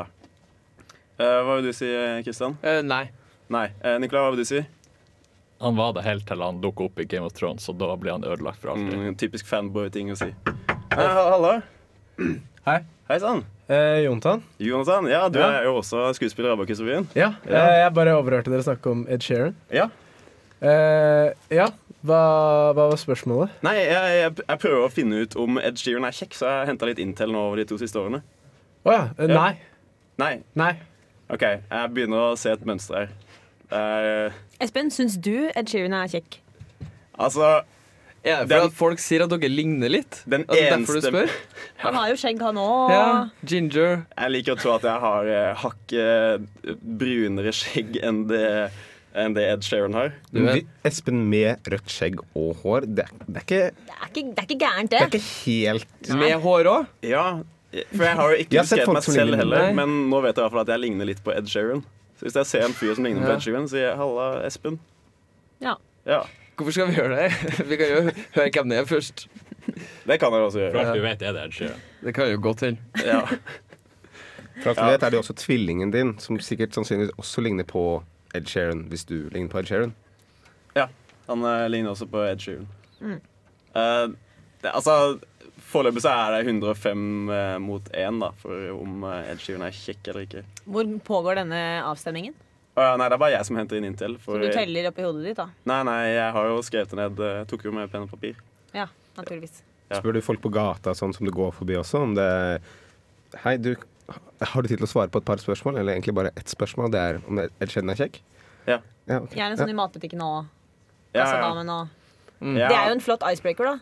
Speaker 1: Eh, Hva vil du si, Kristian?
Speaker 4: Eh, nei.
Speaker 1: Nei. eh, Nicolai, hva vil du si?
Speaker 7: Han var det helt til han dukket opp i Game of Thrones, og da ble han ødelagt for alltid.
Speaker 1: Mm, typisk fanboy-ting å si. Hei, ha- hallo.
Speaker 5: Hei.
Speaker 1: Hei sann.
Speaker 5: Eh, Jontan?
Speaker 1: Jonathan, ja, du
Speaker 5: Ja.
Speaker 1: er jo også skuespiller i Abakus-revyen.
Speaker 5: Ja, eh, jeg bare overhørte dere snakke om Ed Sheeran.
Speaker 1: Ja.
Speaker 5: Eh, ja, Hva, hva var spørsmålet?
Speaker 1: Nei, jeg, jeg, jeg prøver å finne ut om Ed Sheeran er kjekk, så jeg har henta litt intel nå over de to siste årene.
Speaker 5: Å ja. eh,
Speaker 1: Ja.
Speaker 5: Nei.
Speaker 1: Nei,
Speaker 5: Nei.
Speaker 1: OK, jeg begynner å se et mønster her. Eh,
Speaker 2: Espen, syns du Ed Sheeran er kjekk?
Speaker 1: altså,
Speaker 4: Er det
Speaker 1: Den-
Speaker 4: fordi at folk sier at dere ligner litt?
Speaker 1: Den
Speaker 4: er det derfor du
Speaker 1: eneste-
Speaker 4: spør?
Speaker 2: Han har jo skjegg, han òg.
Speaker 4: Ja, Ginger.
Speaker 1: Jeg liker å tro at jeg har eh, hakket brunere skjegg enn det, enn det Ed Sheeran har.
Speaker 4: Du er-
Speaker 6: Vi- Espen med rødt skjegg og hår, det, er- det, er, ikke,
Speaker 2: Det, er ikke- det er ikke gærent,
Speaker 6: det
Speaker 2: det.
Speaker 6: er ikke helt
Speaker 4: Med hår òg?
Speaker 1: Ja, for jeg har jo ikke
Speaker 6: Jeg har sett
Speaker 1: beskrevet
Speaker 6: folk
Speaker 1: meg
Speaker 6: som
Speaker 1: selv
Speaker 6: ligner.
Speaker 1: heller,
Speaker 4: Nei.
Speaker 1: men nå vet jeg i hvert fall at jeg ligner litt på Ed Sheeran. Så hvis jeg ser en fyr som ligner på
Speaker 4: Ja.
Speaker 1: Ed Sheeran, sier jeg 'halla, Espen'.
Speaker 2: Ja.
Speaker 1: Ja,
Speaker 4: Hvorfor skal vi gjøre det? Vi kan jo høre hvem det er først.
Speaker 1: Det kan jeg også
Speaker 7: For
Speaker 1: gjøre.
Speaker 7: alt vi vet, er det Ed Sheeran.
Speaker 4: Det kan jo godt hende.
Speaker 1: Ja.
Speaker 6: For alt vi
Speaker 1: Ja.
Speaker 6: vet, er det jo også tvillingen din, som sikkert sannsynligvis også ligner på Ed Sheeran, hvis du ligner på Ed Sheeran.
Speaker 1: Han eh, ligner også på Ed Sheeran.
Speaker 2: Mm.
Speaker 1: Eh, det, altså, foreløpig så er det 105 eh, mot 1 da, for om eh, Ed Sheeran er kjekk eller ikke.
Speaker 2: Hvor pågår denne avstemningen?
Speaker 1: Å, ja, nei, det er bare jeg som henter inn Intel. For,
Speaker 2: Så du teller oppi hodet ditt, da?
Speaker 1: Nei, nei, jeg har jo skrevet det ned. eh, Tok jo med penn og papir.
Speaker 2: Ja, naturligvis.
Speaker 1: Ja.
Speaker 6: Spør du folk på gata sånn som du går forbi også, om det er Hei, du, har du tid til å svare på et par spørsmål? Eller egentlig bare ett spørsmål, det er om Ed Sheeran er kjekk?
Speaker 1: Ja.
Speaker 6: Ja, ok.
Speaker 2: Gjerne sånn i matbutikken og
Speaker 1: Ja,
Speaker 2: kassadamen og
Speaker 1: ja.
Speaker 2: Altså
Speaker 1: Oh.
Speaker 2: Det er jo en flott icebreaker, da.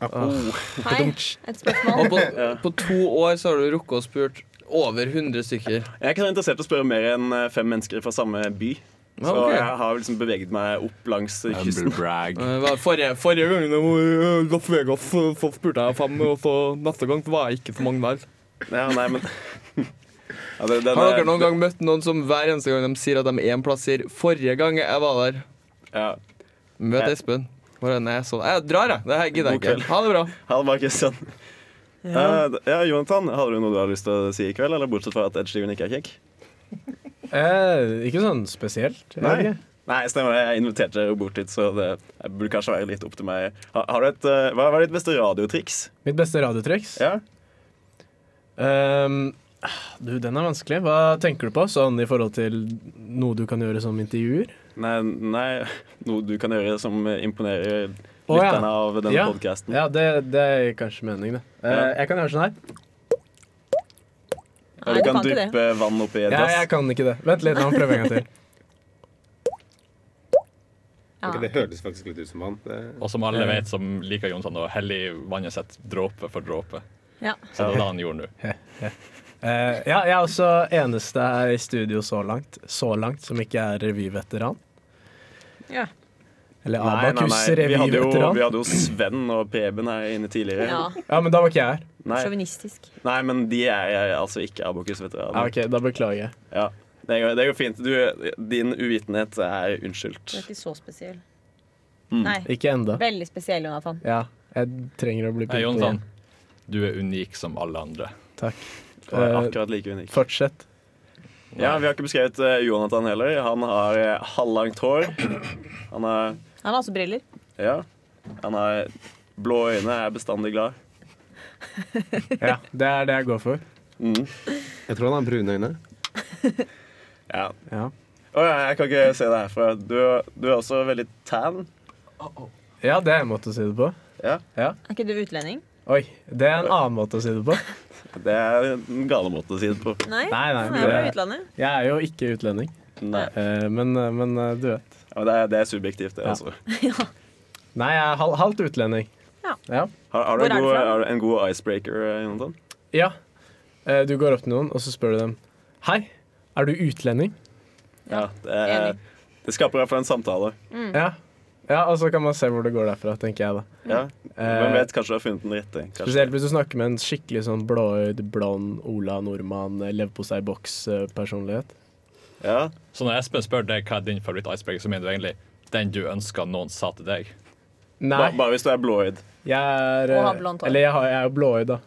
Speaker 3: Ah.
Speaker 2: Hei, et
Speaker 4: Og
Speaker 2: spørsmål.
Speaker 4: på, på to år så har du rukket å spurt over 100 stykker.
Speaker 1: Jeg er ikke så interessert i å spørre mer enn eh, fem mennesker fra samme by.
Speaker 4: Ja,
Speaker 1: Så
Speaker 4: ok.
Speaker 1: jeg har liksom beveget meg opp langs eh, kysten.
Speaker 7: Humblebrag.
Speaker 4: Eh, hva- Forrige, forrige gang jeg var i eh, Las Vegas, så så spurte jeg fem, og så neste gang så var jeg ikke så mange der.
Speaker 1: Ja, nei, men ja, det, den,
Speaker 4: Har
Speaker 1: eh,
Speaker 4: dere noen gang møtt noen som hver eneste gang de sier at de er en plass, sier 'forrige gang jeg var der'?
Speaker 1: Ja.
Speaker 4: Møt
Speaker 1: Ja.
Speaker 4: Espen. Bare, nei, sånn. Jeg drar, jeg. Det her gidder jeg
Speaker 1: God
Speaker 4: ikke. Ha det bra.
Speaker 1: Hallo, bare Kristian. Ja. ja, Jonathan, har du noe du har lyst til å si i kveld? Eller bortsett fra at Ed Sheeran ikke er kjekk?
Speaker 5: Eh, ikke sånn spesielt. jeg vet
Speaker 1: Nei.
Speaker 5: ikke.
Speaker 1: Nei, stemmer det. Jeg inviterte dere jo bort dit, så det jeg burde kanskje være litt opp til meg. Har, har du et, eh, hva hva er ditt beste radiotriks?
Speaker 5: Mitt beste radiotriks?
Speaker 1: Ja?
Speaker 5: Ehm, du, den er vanskelig. Hva tenker du på sånn i forhold til noe du kan gjøre som intervjuer?
Speaker 1: Nei, nei, noe du kan gjøre som imponerer
Speaker 5: Å, ja.
Speaker 1: lytterne av denne
Speaker 5: Ja.
Speaker 1: podcasten.
Speaker 5: Ja, det, det er kanskje meningen, det. Eh, jeg kan gjøre sånn her.
Speaker 1: Ja,
Speaker 2: Nei,
Speaker 1: du
Speaker 2: du
Speaker 1: kan
Speaker 2: kan ikke det.
Speaker 1: dryppe vann oppi et
Speaker 5: Ja,
Speaker 1: glass.
Speaker 5: jeg kan ikke det. Vent litt, la meg prøve en gang til.
Speaker 2: Ja.
Speaker 6: Ok, Det hørtes faktisk litt ut som han. Det-
Speaker 7: Og som alle vet, som liker Jonsson, å helle i vannet sitt dråpe for dråpe.
Speaker 2: Ja.
Speaker 7: Så det var det han gjorde nå.
Speaker 5: Eh, ja, jeg er også eneste her i studio så langt, så langt som ikke er revyveteran.
Speaker 2: Ja.
Speaker 5: Eller
Speaker 1: Nei, nei,
Speaker 5: Abakus
Speaker 1: nei. Vi hadde, jo, vi
Speaker 5: revyveteran.
Speaker 1: hadde jo Sven og Preben her inne tidligere.
Speaker 2: ja.
Speaker 5: Ja, men da var ikke jeg her.
Speaker 1: Nei,
Speaker 2: Sjåvinistisk.
Speaker 1: nei, men de er jeg, altså ikke Abokus-veteraner.
Speaker 5: Ja, ok, Da beklager jeg.
Speaker 1: ja. det, går- det går fint. Du, din uvitenhet er
Speaker 2: Du er
Speaker 1: unnskyldt.
Speaker 2: ikke så spesiell.
Speaker 1: Mm.
Speaker 2: Nei.
Speaker 5: Ikke enda.
Speaker 2: Veldig spesiell, Jonathan.
Speaker 5: Ja, jeg trenger å bli pyntet
Speaker 7: Hei, Jonsson.
Speaker 5: igjen.
Speaker 7: Du er unik som alle andre.
Speaker 1: Du er
Speaker 5: Eh,
Speaker 1: akkurat like unik.
Speaker 5: Fortsett.
Speaker 1: Ja, Vi har ikke beskrevet eh, Jonathan heller. Han har eh, halvlangt hår. Han har
Speaker 2: Han har også briller.
Speaker 1: Ja. Han har blå øyne, er bestandig glad.
Speaker 5: Ja, Det er det jeg går for.
Speaker 1: Mm.
Speaker 6: Jeg tror han har brune øyne.
Speaker 1: Ja.
Speaker 5: Ja,
Speaker 1: Å ja, jeg kan ikke se det herfra. Du, du er også veldig tan.
Speaker 5: ja det er en måte å si det på.
Speaker 1: Ja.
Speaker 2: Er ikke du utlending?
Speaker 5: Oi, det er en annen måte å si det på.
Speaker 1: Det er den gale måten å si det på.
Speaker 2: Nei.
Speaker 5: Nei, nei,
Speaker 2: Han er fra
Speaker 5: det,
Speaker 2: utlandet.
Speaker 5: jeg er jo ikke utlending,
Speaker 1: Nei.
Speaker 5: Eh, men, men eh, du vet.
Speaker 1: Ja, det, er, det er subjektivt, det,
Speaker 5: Ja.
Speaker 1: altså.
Speaker 5: Nei, jeg er hal halvt utlending.
Speaker 2: Ja.
Speaker 5: ja.
Speaker 1: Har, har, du
Speaker 2: Hvor
Speaker 1: en
Speaker 2: er du
Speaker 1: god,
Speaker 2: fra?
Speaker 1: har du en god icebreaker, eh, Jonathan?
Speaker 5: Ja. Eh, Du går opp til noen, og så spør du dem Hei, er du utlending?
Speaker 1: Ja, det, er-
Speaker 2: enig.
Speaker 1: det skaper i hvert fall en samtale.
Speaker 5: Ja. ja. Og så kan man se hvor det går derfra, tenker jeg da.
Speaker 2: Mm.
Speaker 1: Ja. Hvem
Speaker 5: Eh,
Speaker 1: vet, kanskje du har funnet den rette. Kanskje.
Speaker 5: Spesielt hvis du snakker med en skikkelig sånn blåøyd, blond Ola Nordmann, eh, leverpostei-boks-personlighet.
Speaker 1: Ja.
Speaker 7: Så når Espen spør deg hva er din favoritt-icebreaker, så mener du egentlig den du ønsker noen sa til deg.
Speaker 5: Nei,
Speaker 1: Ba, bare hvis du er blåøyd.
Speaker 5: jeg er
Speaker 2: Og har
Speaker 5: eh,
Speaker 2: blondt hår. Mm.
Speaker 5: Eller jeg, har, jeg er jo blåøyd, da.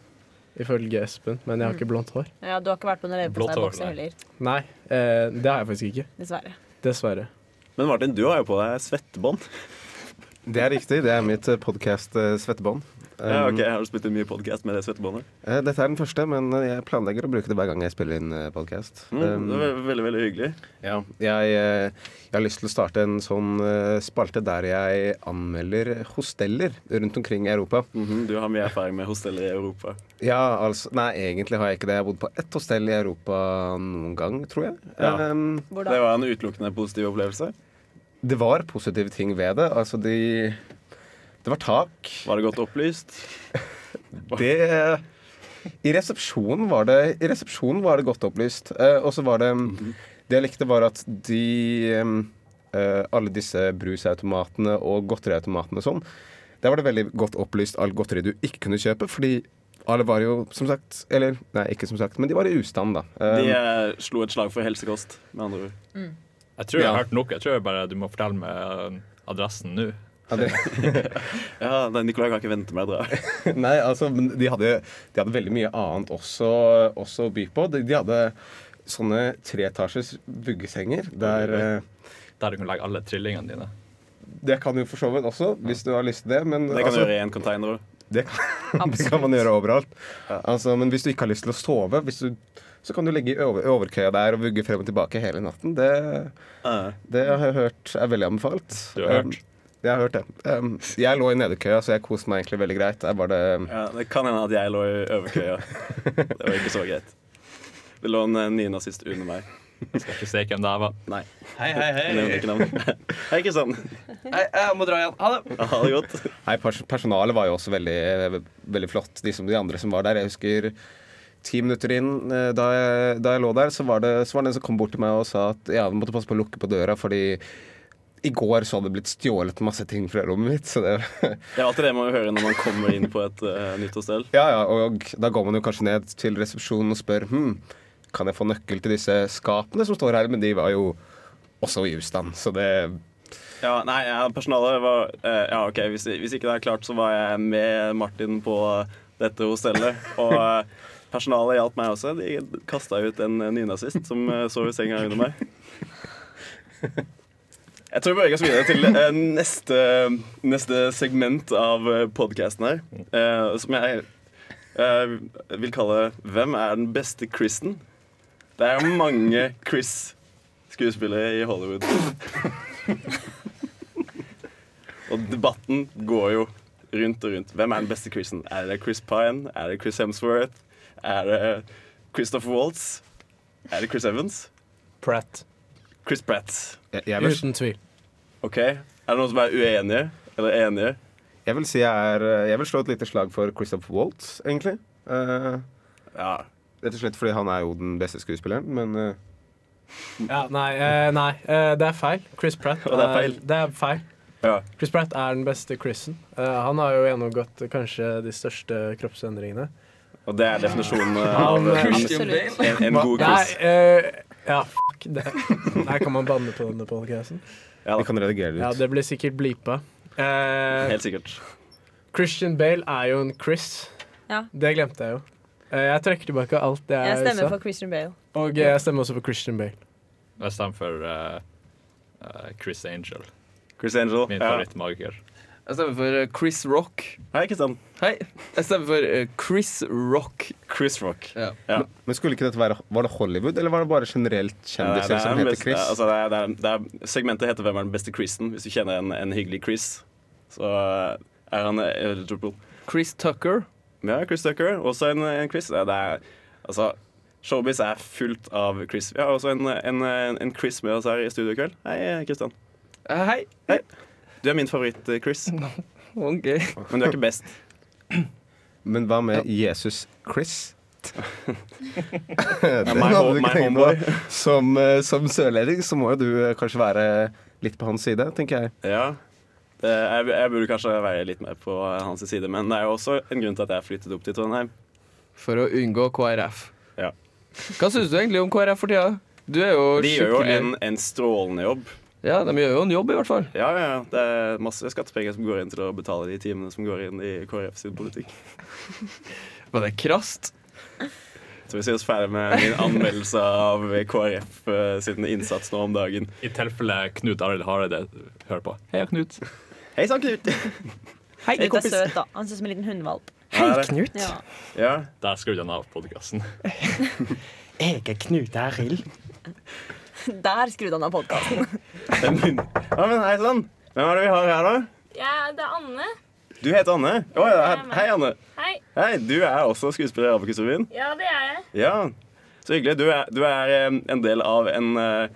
Speaker 5: Ifølge Espen, men jeg har ikke blondt hår.
Speaker 2: Ja, du har ikke vært på noen
Speaker 7: Blått hår,
Speaker 2: leverposteibokser
Speaker 7: nei.
Speaker 2: heller.
Speaker 5: Nei, eh, det har jeg faktisk ikke.
Speaker 2: Dessverre.
Speaker 5: Dessverre.
Speaker 1: Men Martin, du har jo på deg svettebånd.
Speaker 6: eh, Det er riktig. Det er mitt podkast-svettebånd.
Speaker 5: Um,
Speaker 1: Ja, ok, Har du spilt inn mye podkast med det svettebåndet?
Speaker 6: Um, Eh, Dette er den første, men eh, jeg planlegger å bruke det hver gang jeg spiller inn podkast.
Speaker 1: Mm,
Speaker 5: um,
Speaker 1: det var veldig, veldig hyggelig.
Speaker 6: Ja, jeg, eh, jeg har lyst til å starte en sånn eh, spalte der jeg anmelder hosteller rundt omkring i Europa.
Speaker 1: Mhm, du har mye erfaring med hosteller i Europa.
Speaker 6: Ja, altså Nei, egentlig har jeg ikke det. Jeg har bodd på ett hostell i Europa noen gang, tror jeg.
Speaker 1: Ja.
Speaker 6: Ehm,
Speaker 2: Hvor
Speaker 1: Det
Speaker 2: da?
Speaker 1: var en utelukkende positiv opplevelse.
Speaker 6: det var positive ting ved det. Altså, de Det var tak.
Speaker 1: Var det godt opplyst?
Speaker 6: Det I resepsjonen var det, i resepsjonen var det godt opplyst. Eh, og så var det Det jeg likte, var at de eh, Alle disse brusautomatene og godteriautomatene og sånn, der var det veldig godt opplyst all godteri du ikke kunne kjøpe, fordi alle var jo, som sagt Eller nei, ikke som sagt, men de var i ustand, da.
Speaker 5: Um,
Speaker 6: Eh,
Speaker 1: De eh, slo et slag for helsekost, med andre ord.
Speaker 7: Jeg tror jeg har
Speaker 6: Ja.
Speaker 7: hørt nok. Jeg tror bare du må fortelle meg eh, adressen nå.
Speaker 6: ja, det-
Speaker 1: Ja, nei, Nicolai kan ikke vente med å dra.
Speaker 6: Nei, altså, men de hadde, de hadde veldig mye annet også, også å by på. De, de hadde sånne treetasjes vuggesenger der eh,
Speaker 7: Der du kan legge alle trillingene dine.
Speaker 6: Det kan du for så vidt også, hvis du har lyst til det. Men
Speaker 1: Det kan du
Speaker 6: altså,
Speaker 1: gjøre i en container.
Speaker 6: det, kan, det kan man gjøre overalt. Altså, men hvis du ikke har lyst til å sove, hvis du, så kan du ligge i over, overkøya der og vugge frem og tilbake hele natten. Det,
Speaker 1: Uh,
Speaker 6: det har jeg hørt er veldig anbefalt.
Speaker 7: Du har hørt?
Speaker 6: Um, jeg har hørt det. Um, jeg lå i nedekøya, så jeg koste meg egentlig veldig greit. Jeg bare, um,
Speaker 1: ja, det kan hende at jeg lå i overkøya. Det var ikke så greit. Det lå en eh, nynazist under meg.
Speaker 7: Jeg skal ikke si hvem det her var.
Speaker 1: Nei,
Speaker 4: Hei, hei,
Speaker 1: jeg nevner ikke navn. Hei, Kristian.
Speaker 4: Hei, jeg må dra igjen. Ha det.
Speaker 1: Ha det godt.
Speaker 6: Nei, pers personalet var jo også veldig, eh, veldig flott, de, som, de andre som var der. Jeg husker ti minutter inn eh, da jeg, da jeg lå der, så var, det, så var det en som kom bort til meg og sa at ja, du måtte passe på å lukke på døra, fordi i går så hadde det blitt stjålet masse ting fra rommet mitt. Så det,
Speaker 1: Det er alltid det man hører når man kommer inn på et eh, nytt hostell.
Speaker 6: ja, ja, og da går man jo kanskje ned til resepsjonen og spør hm, kan jeg få nøkkel til disse skapene som står her, men de var jo også i ustand, så det
Speaker 1: Ja, nei, ja, personalet var eh, Ja, ok, hvis, hvis ikke det er klart, så var jeg med Martin på dette hostellet. Og eh, personalet hjalp meg også. De kasta ut en eh, nynazist som eh, sov i senga under meg. Jeg tror vi beveger oss videre til eh, neste, neste segment av podkasten her. eh, som jeg eh, vil kalle 'Hvem er den beste Kristen?' Det er mange Chris-skuespillere i Hollywood. Og debatten går jo rundt og rundt. Hvem er den beste Chrisen? Er det Chris Pine? Er det Chris Hemsworth? Er det Christopher Waltz? Er det Chris Evans?
Speaker 5: Pratt.
Speaker 1: Chris Pratt.
Speaker 6: jeg, jeg, vil,
Speaker 5: Uten tvil.
Speaker 1: OK? Er det noen som er uenige? Eller enige?
Speaker 6: jeg vil si jeg er eh, Jeg vil slå et lite slag for Christopher Waltz, egentlig. Eh,
Speaker 1: Ja.
Speaker 6: Rett og slett fordi han er jo den beste skuespilleren, men eh,
Speaker 5: Ja, nei, eh, nei eh, det er feil. Chris Pratt
Speaker 1: Og det er feil.
Speaker 5: det er feil.
Speaker 1: ja.
Speaker 5: Chris Pratt er den beste Chrisen. Eh, han har jo gjennomgått eh, kanskje de største kroppsendringene.
Speaker 1: Og det er definisjonen
Speaker 5: Han,
Speaker 1: av
Speaker 5: eh,
Speaker 1: en,
Speaker 2: Christian Bale.
Speaker 1: en god
Speaker 5: Nei,
Speaker 1: Chris.
Speaker 5: eh, ja, fuck det. Nei, kan man banne på denne podcasten?
Speaker 1: Ja,
Speaker 6: vi kan redigere det ut.
Speaker 5: Ja, det blir sikkert bleepa. Eh,
Speaker 1: helt sikkert.
Speaker 5: Christian Bale er jo en Chris.
Speaker 2: Ja.
Speaker 5: Det glemte jeg jo. Eh, jeg trekker tilbake alt det
Speaker 2: Jeg
Speaker 5: jeg,
Speaker 2: stemmer
Speaker 5: sa.
Speaker 2: for Christian Bale.
Speaker 5: Og eh, jeg stemmer også for Christian Bale.
Speaker 7: Jeg stemmer for eh, eh, Chris Angel,
Speaker 1: Chris Angel.
Speaker 7: min
Speaker 1: Ja.
Speaker 7: favorittmagiker.
Speaker 4: Jeg stemmer for eh, Chris Rock.
Speaker 1: Hei, Kristian.
Speaker 4: Hei. Jeg stemmer for eh, Chris Rock.
Speaker 1: Chris Rock.
Speaker 4: Ja.
Speaker 6: Men skulle ikke dette være Var det Hollywood, eller var det bare generelt
Speaker 1: Ja,
Speaker 6: kjendiser
Speaker 1: det er
Speaker 6: som
Speaker 1: den
Speaker 6: heter
Speaker 1: beste-
Speaker 6: Chris?
Speaker 1: Altså, det er, det er, det er, segmentet heter 'Hvem er den beste Chrisen?' Hvis du kjenner en, en hyggelig Chris, så er han eh, eligible.
Speaker 4: Chris Tucker.
Speaker 1: Ja, Chris Tucker. Også en, en Chris. Ja, Det er, altså, showbiz er fullt av Chris. Vi har også en, en, en Chris med oss her i studio i kveld. Hei, Kristian.
Speaker 4: Eh, hei.
Speaker 1: Du er min favoritt-Chris,
Speaker 4: Ok.
Speaker 1: men du er ikke best.
Speaker 6: Men hva med Jesus Chris? Den
Speaker 1: my
Speaker 6: hadde
Speaker 1: ho-
Speaker 6: du ikke
Speaker 1: my
Speaker 6: tenkt
Speaker 1: homeboy.
Speaker 6: på. Som, eh, som sørlending så må jo du eh, kanskje være litt på hans side, tenker jeg.
Speaker 1: Ja. Det- Eh, Jeg, jeg burde kanskje være litt mer på eh, hans side, men det er jo også en grunn til at jeg flyttet opp til Trondheim.
Speaker 4: For å unngå KrF.
Speaker 1: Ja.
Speaker 4: Hva syns du egentlig om KrF for tida? Du er jo
Speaker 1: De gjør jo
Speaker 4: skikkelig
Speaker 1: en, en strålende jobb.
Speaker 4: Ja, de gjør jo en jobb, i hvert fall.
Speaker 1: Ja, ja, ja. Det er masse skattepenger som går inn til å betale de timene som går inn i KrF sin politikk.
Speaker 4: Var det krast?
Speaker 1: Så vi ser oss ferdig med min anmeldelse av KrF eh, sin innsats nå om dagen.
Speaker 7: I tilfelle Knut Arild Hareide hører på. Heia, Knut.
Speaker 1: Hei sann, Knut!
Speaker 3: Hei,
Speaker 2: Knut er
Speaker 3: kompis.
Speaker 2: søt, da. Han ser ut som en liten hundevalp.
Speaker 3: Hei,
Speaker 1: Ja, det-
Speaker 3: Knut.
Speaker 2: Ja.
Speaker 1: Ja.
Speaker 7: Der skrudde han av podkasten.
Speaker 3: Jeg er Knut Arild.
Speaker 2: Der skrudde han av podkasten.
Speaker 1: Ja, men hei sann. Hvem er det vi har her, da?
Speaker 8: Ja, det er Anne.
Speaker 1: Du heter Anne. Å, ja. he- Hei, Anne.
Speaker 8: Hei.
Speaker 1: Hei, Du er også skuespiller i Abakusrevyen.
Speaker 8: Ja, det er jeg.
Speaker 1: Ja, så hyggelig. Du er, du er eh, en del av en, eh,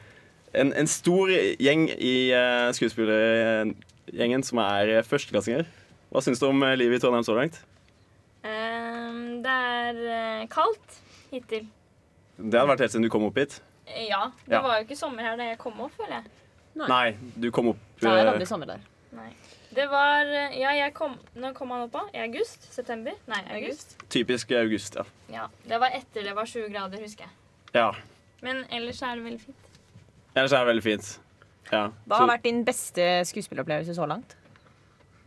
Speaker 1: en, en stor gjeng i eh, skuespillergjengen som er eh, førsteklassinger. Hva syns du om eh, livet i Trondheim så langt?
Speaker 8: Ehm, det er eh, kaldt hittil.
Speaker 1: Det hadde vært helt siden du kom opp hit.
Speaker 8: Eh, Ja, det
Speaker 1: Ja.
Speaker 8: var jo ikke sommer her da jeg kom opp, føler jeg.
Speaker 1: Nei, du kom opp
Speaker 2: Det er
Speaker 1: eh,
Speaker 2: aldri sommer der.
Speaker 8: Nei. Det var eh, Ja, jeg kom Når kom han opp, da? I august? September? Nei, august.
Speaker 1: typisk i august, ja.
Speaker 8: Ja, Det var etter det var 20 grader, husker jeg.
Speaker 1: ja.
Speaker 8: Men ellers er det veldig fint.
Speaker 1: Ellers er det veldig fint. Ja.
Speaker 2: Hva har vært din beste skuespilleropplevelse så langt?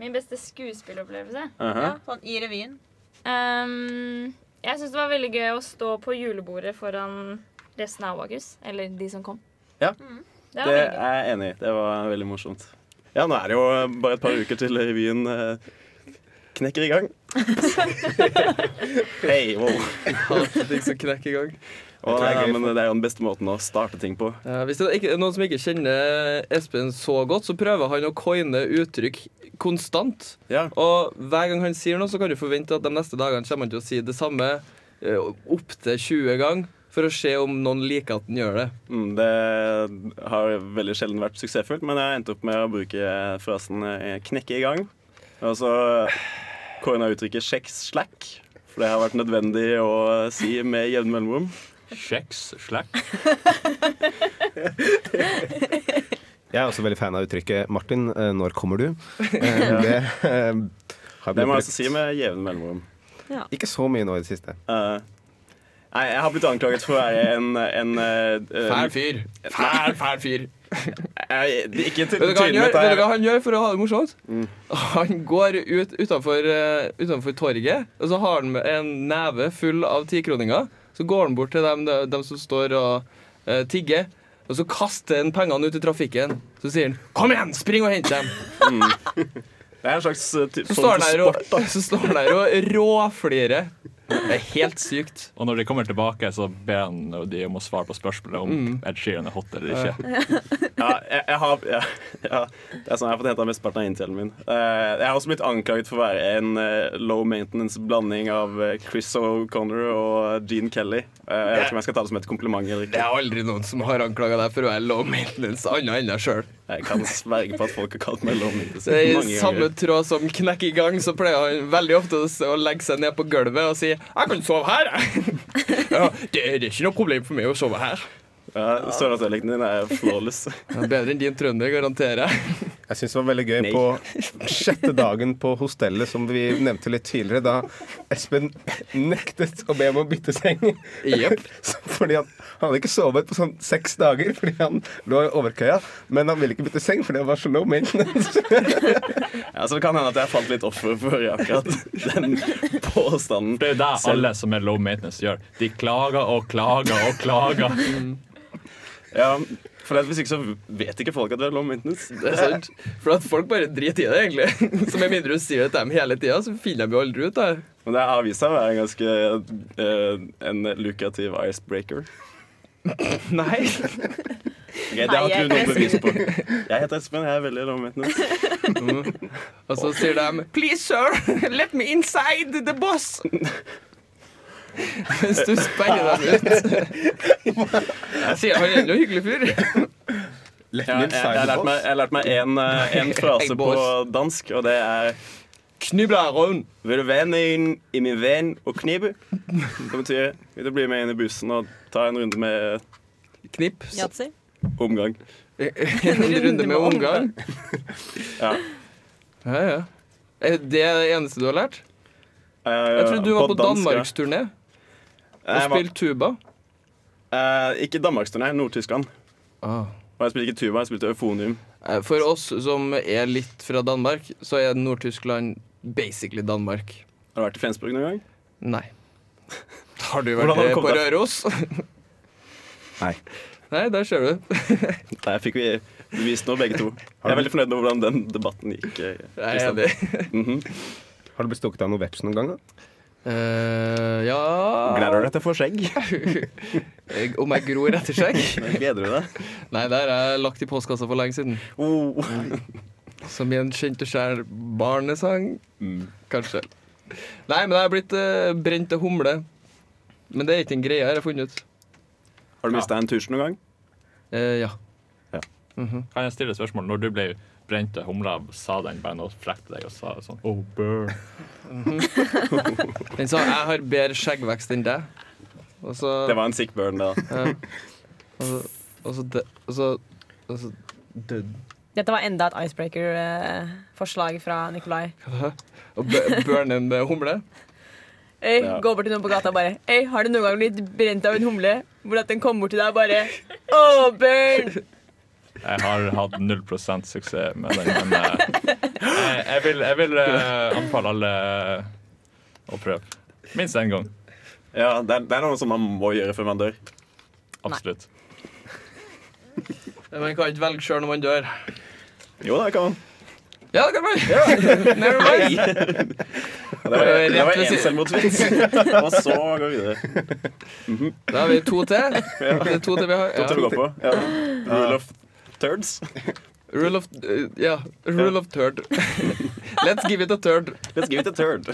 Speaker 8: Min beste skuespillopplevelse?
Speaker 2: Ja, sånn I revyen.
Speaker 8: Ehm, jeg syns det var veldig gøy å stå på julebordet foran resten av Abakus. Eller de som kom.
Speaker 1: Ja.
Speaker 8: Mm. Det var
Speaker 1: Det
Speaker 8: veldig gøy.
Speaker 1: er jeg enig i. Det var veldig morsomt. Ja, nå er det jo bare et par uker til revyen eh, knekker i gang. Hei, wow.
Speaker 4: Hater ting som knekker i gang.
Speaker 1: Å,
Speaker 6: tror
Speaker 1: nei,
Speaker 6: det er
Speaker 1: nei,
Speaker 6: gøy
Speaker 1: men
Speaker 6: for-
Speaker 1: det er jo den beste måten å starte ting på.
Speaker 4: Eh, Hvis det er ikke, noen som ikke kjenner Espen så godt, så prøver han å coine uttrykk konstant.
Speaker 1: Ja.
Speaker 4: Og hver gang han sier noe, så kan du forvente at de neste dagene kommer han til å si det samme eh, opptil 20 ganger, for å se om noen liker at han gjør det.
Speaker 1: Mm, Det har veldig sjelden vært suksessfullt, men jeg endte opp med å bruke frasen eh, 'knekke i gang'. Og så coina uttrykket 'sjekk slack', for det har vært nødvendig å si med jevne mellomrom.
Speaker 7: Kjeks, slack.
Speaker 6: Jeg er også veldig fan av uttrykket 'Martin, eh, når kommer du?' Eh, Det eh, har
Speaker 1: Det
Speaker 6: blitt
Speaker 1: må jeg
Speaker 6: brukt
Speaker 1: altså si med jevne mellomrom.
Speaker 6: ikke så mye nå i det siste.
Speaker 1: Eh, nei, jeg har blitt anklaget for å være en, en eh,
Speaker 4: Fæl fyr. Fæl, fæl fyr.
Speaker 1: Nei, det er ikke til
Speaker 4: Vet du hva han gjør,
Speaker 1: tydelighet
Speaker 4: Vet du hva
Speaker 1: her. Mm.
Speaker 4: han gjør for å ha det morsomt? Han går ut utenfor, eh, utenfor torget, og så har han med en neve full av tikroninger. Så går han bort til dem, dem som står og eh, tigger, og så kaster han pengene ut i trafikken. Så sier han 'Kom igjen, spring og hent dem'.
Speaker 1: Det er en slags eh, ty-
Speaker 4: Så
Speaker 1: form for
Speaker 4: står han der
Speaker 1: sport.
Speaker 4: og, så står han der og råflirer. Det er helt sykt.
Speaker 7: Og når de kommer tilbake, så ber han de om å svare på spørsmålet om Ed Sheeran er hot eller ikke.
Speaker 1: Ja, jeg, jeg har, ja, ja, det er sånn jeg har fått henta mesteparten av inntelen min. Eh, jeg har også blitt anklaget for å være en eh, low maintenance-blanding av eh, Chris O'Connor og Gene Kelly. Eh, jeg vet ikke om jeg skal ta det som et kompliment eller
Speaker 4: Det
Speaker 1: ikke.
Speaker 4: er aldri noen som har anklaga deg for å være low maintenance, annet enn deg sjøl.
Speaker 1: Jeg kan sverge på at folk har kalt meg low maintenance
Speaker 4: Så I
Speaker 1: mange
Speaker 4: samme
Speaker 1: ganger.
Speaker 4: tråd som knekk i gang, så pleier han veldig ofte å s- å legge seg ned på gulvet og si 'Jeg kan sove her, jeg'. ja, det, det er ikke noe problem for meg å sove her.
Speaker 1: Ja, Sørlandsdialekten din er flawless.
Speaker 4: Ja, bedre enn din trønder, garanterer jeg.
Speaker 6: Jeg syns det var veldig gøy
Speaker 1: Nei.
Speaker 6: på sjette dagen på hostellet, som vi nevnte litt tidligere, da Espen nektet å be om å bytte seng.
Speaker 4: Jepp.
Speaker 6: Fordi han, han hadde ikke sovet på sånn seks dager fordi han lå i overkøya. Men han ville ikke bytte seng fordi han var så low maintenance.
Speaker 1: Ja, så det kan hende at jeg falt litt offer for akkurat den påstanden.
Speaker 7: Det er jo det alle som er low maintenance, gjør. De klager og klager og klager.
Speaker 1: Ja, for at Hvis ikke så vet ikke folk at vi er low maintenance.
Speaker 4: Det er sant. For at folk bare driter i det, egentlig. Så med mindre du sier det til dem hele tida, så finner de jo aldri ut av det.
Speaker 1: Men det har vist seg å være en ganske eh, en lukrativ icebreaker.
Speaker 4: Nei.
Speaker 1: Ok, det har
Speaker 2: Nei,
Speaker 1: ikke
Speaker 2: jeg
Speaker 1: du noe
Speaker 2: er
Speaker 1: bevis på. Jeg heter Espen, jeg er veldig lovmedviten.
Speaker 4: Og så sier de 'Please, sir, let me inside the boss'. Mens du sperrer dem ut. Jeg sier han er en hyggelig fyr.
Speaker 6: Let
Speaker 1: Jeg,
Speaker 6: me
Speaker 1: jeg, jeg har lært meg- jeg har lært meg en, eh, en frase
Speaker 4: Egg
Speaker 1: på
Speaker 4: boss.
Speaker 1: dansk, og det er
Speaker 4: Knublaron.
Speaker 1: Vil du være med inn i min venn og knibe? Det betyr vil du bli med inn i bussen og ta en runde med
Speaker 4: Knipp.
Speaker 2: Yatzy.
Speaker 1: omgang.
Speaker 4: En runde med omgang.
Speaker 1: Ja.
Speaker 4: Ja, ja. Er det det eneste du har lært?
Speaker 1: Eh,
Speaker 4: Jeg trodde du var på
Speaker 1: dansk, ja.
Speaker 4: danmarksturné og
Speaker 1: Jeg var-
Speaker 4: spilte tuba.
Speaker 1: eh, Ikke danmarksturné, Nord-Tyskland.
Speaker 4: Ah.
Speaker 1: Og jeg spilte ikke tuba, jeg spilte eufonium.
Speaker 4: Eh, For oss som er litt fra Danmark, så er Nord-Tyskland basically Danmark.
Speaker 1: Har du vært i Flensburg noen gang?
Speaker 4: Nei. Har du
Speaker 1: Hvordan
Speaker 4: vært
Speaker 1: har du
Speaker 4: eh, på
Speaker 1: kommet
Speaker 4: Røros?
Speaker 1: Nei.
Speaker 4: Nei, der ser du.
Speaker 1: Der fikk vi Vi viste noe, begge to. Jeg er veldig fornøyd med hvordan den debatten gikk. eh,
Speaker 4: Jeg er
Speaker 1: Kristian.
Speaker 4: enig.
Speaker 1: Mhm.
Speaker 6: Har du blitt stukket av noe veps noen gang? da?
Speaker 4: Eh, ja
Speaker 1: Gleder du deg til å få skjegg?
Speaker 4: Jeg- Om jeg gror etter skjegg?
Speaker 1: Gleder du deg?
Speaker 4: Nei, det har jeg lagt i postkassa for lenge siden.
Speaker 1: Oh.
Speaker 4: Som i en kjent og skjær barnesang.
Speaker 1: Mm.
Speaker 4: Kanskje. Nei, men jeg har blitt eh, brent til humle. Men det er ikke en greie, har jeg funnet ut.
Speaker 1: Har du mista en tusj noen gang?
Speaker 4: Eh, ja.
Speaker 7: Kan jeg stille et spørsmål? Når du ble brent og humla, sa den bare noe frekt til deg og sa sånn Oh, burn.
Speaker 4: Den sa 'jeg har bedre skjeggvekst enn deg'. Og så,
Speaker 1: Det var en sick burn, det. da.
Speaker 4: ja. Altså, og så, og så, dø- og så, og så død.
Speaker 2: Dette var enda et icebreaker-forslag fra Nikolai.
Speaker 4: Og bø- burn en eh, humle.
Speaker 2: Øy,
Speaker 1: Ja.
Speaker 2: Gå bort til noen på gata og bare Øy, har du noen gang blitt brent av en humle? Hvor at den kom bort til deg og bare Åh, burn!
Speaker 7: Jeg har hatt 0 suksess med den, men eh, jeg, jeg vil, jeg vil eh, anbefale alle å prøve. Minst én gang.
Speaker 1: Ja, det er, det er noe som man må gjøre før man dør.
Speaker 7: Absolutt.
Speaker 4: Man kan ikke velge sjøl når man dør.
Speaker 1: Jo da, det kan man.
Speaker 4: Ja, det kan man! Never mind.
Speaker 1: Det var,
Speaker 4: Rett
Speaker 1: det var
Speaker 4: ved
Speaker 1: en
Speaker 4: siden.
Speaker 1: selvmotsvits. Og så går vi videre.
Speaker 4: Da har vi to til. Det er to til vi har.
Speaker 1: To til å
Speaker 4: Ja.
Speaker 1: gå på. Ja. Rule of thirds.
Speaker 4: Rule of eh, Ja. Rule of third. Let's give it a third.
Speaker 1: Let's give it a third.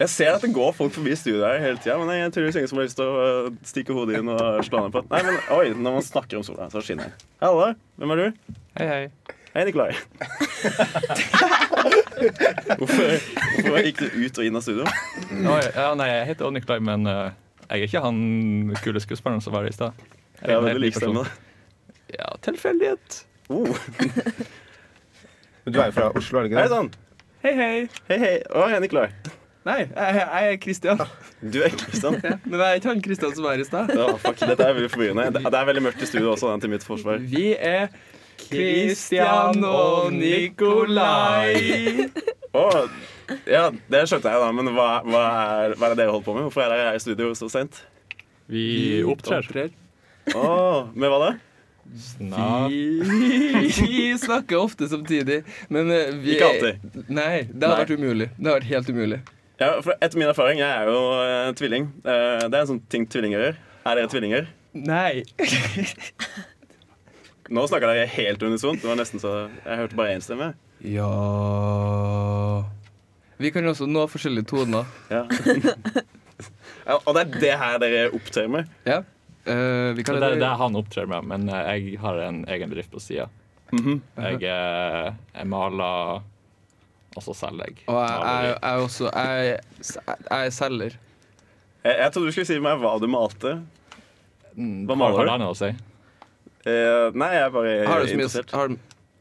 Speaker 1: Jeg ser at det går folk forbi studioet her hele tida, men jeg tror det er ingen som har lyst til å øh, stikke hodet inn og slå ned på Nei, men oi, når man snakker om sola, så skinner den. Hallo, hvem er du?
Speaker 4: Hei, hei.
Speaker 1: Hei, Nikolai. Hvorfor, hvorfor gikk du ut og inn av studio?
Speaker 7: Oi, ja, nei, jeg heter Odd Nikolai, men eh, jeg er ikke han kule skuespilleren som var her i stad.
Speaker 1: Jeg
Speaker 7: Jeg er
Speaker 1: er
Speaker 7: en helt
Speaker 1: veldig
Speaker 7: ny
Speaker 1: lik stemme.
Speaker 7: person. Ja, tilfeldighet.
Speaker 1: Oh,
Speaker 6: Men Du er jo fra Oslo, er du
Speaker 1: hei
Speaker 6: ikke det?
Speaker 1: sann.
Speaker 4: Hei, hei.
Speaker 1: Hei, hei. Å, hei, Nikolai.
Speaker 4: Nei, jeg, jeg er Kristian.
Speaker 1: Du er Kristian.
Speaker 4: Men jeg er ikke han Kristian som var her i stad.
Speaker 1: Ja, fuck, dette er veldig forvirrende. Det- Det er veldig mørkt i studio også, den til mitt forsvar.
Speaker 4: Vi er Kristian og Nikolai.
Speaker 1: Å, ja, det skjønte jeg da, men hva, hva, er, hva er det dere holder på med? Hvorfor er dere her i studio så sent?
Speaker 7: Vi opptrer
Speaker 1: Å, med hva da?
Speaker 7: snart.
Speaker 4: Vi snakker ofte samtidig, men eh, vi
Speaker 1: Ikke alltid.
Speaker 4: Nei, det har
Speaker 1: Nei.
Speaker 4: vært umulig. Det har vært helt umulig.
Speaker 1: Ja, for etter min erfaring, jeg er jo eh, tvilling. Eh, det er en sånn ting tvillinger gjør. Er dere tvillinger?
Speaker 4: Nei.
Speaker 1: Nå snakker dere helt unisont. Det var nesten så Jeg hørte bare én stemme.
Speaker 4: Ja Vi kan også nå forskjellige toner.
Speaker 1: Ja. Ja, og det er det her dere opptrer med.
Speaker 4: Ja. Eh, vi
Speaker 7: Det
Speaker 4: kan
Speaker 7: er det er han opptrer med, men eh, jeg har en egen bedrift på sida. Jeg, eh, jeg maler, og så selger jeg.
Speaker 4: Og jeg, jeg,
Speaker 7: Maleri.
Speaker 4: jeg er også jeg, jeg er selger.
Speaker 1: Jeg, jeg trodde du skulle si meg hva du malte.
Speaker 7: Mm,
Speaker 1: Hva
Speaker 7: har-
Speaker 1: maler
Speaker 7: har
Speaker 1: du?
Speaker 7: det noe å si?
Speaker 1: Eh, nei, jeg er bare
Speaker 4: Har det så mye,
Speaker 1: interessert.
Speaker 4: har,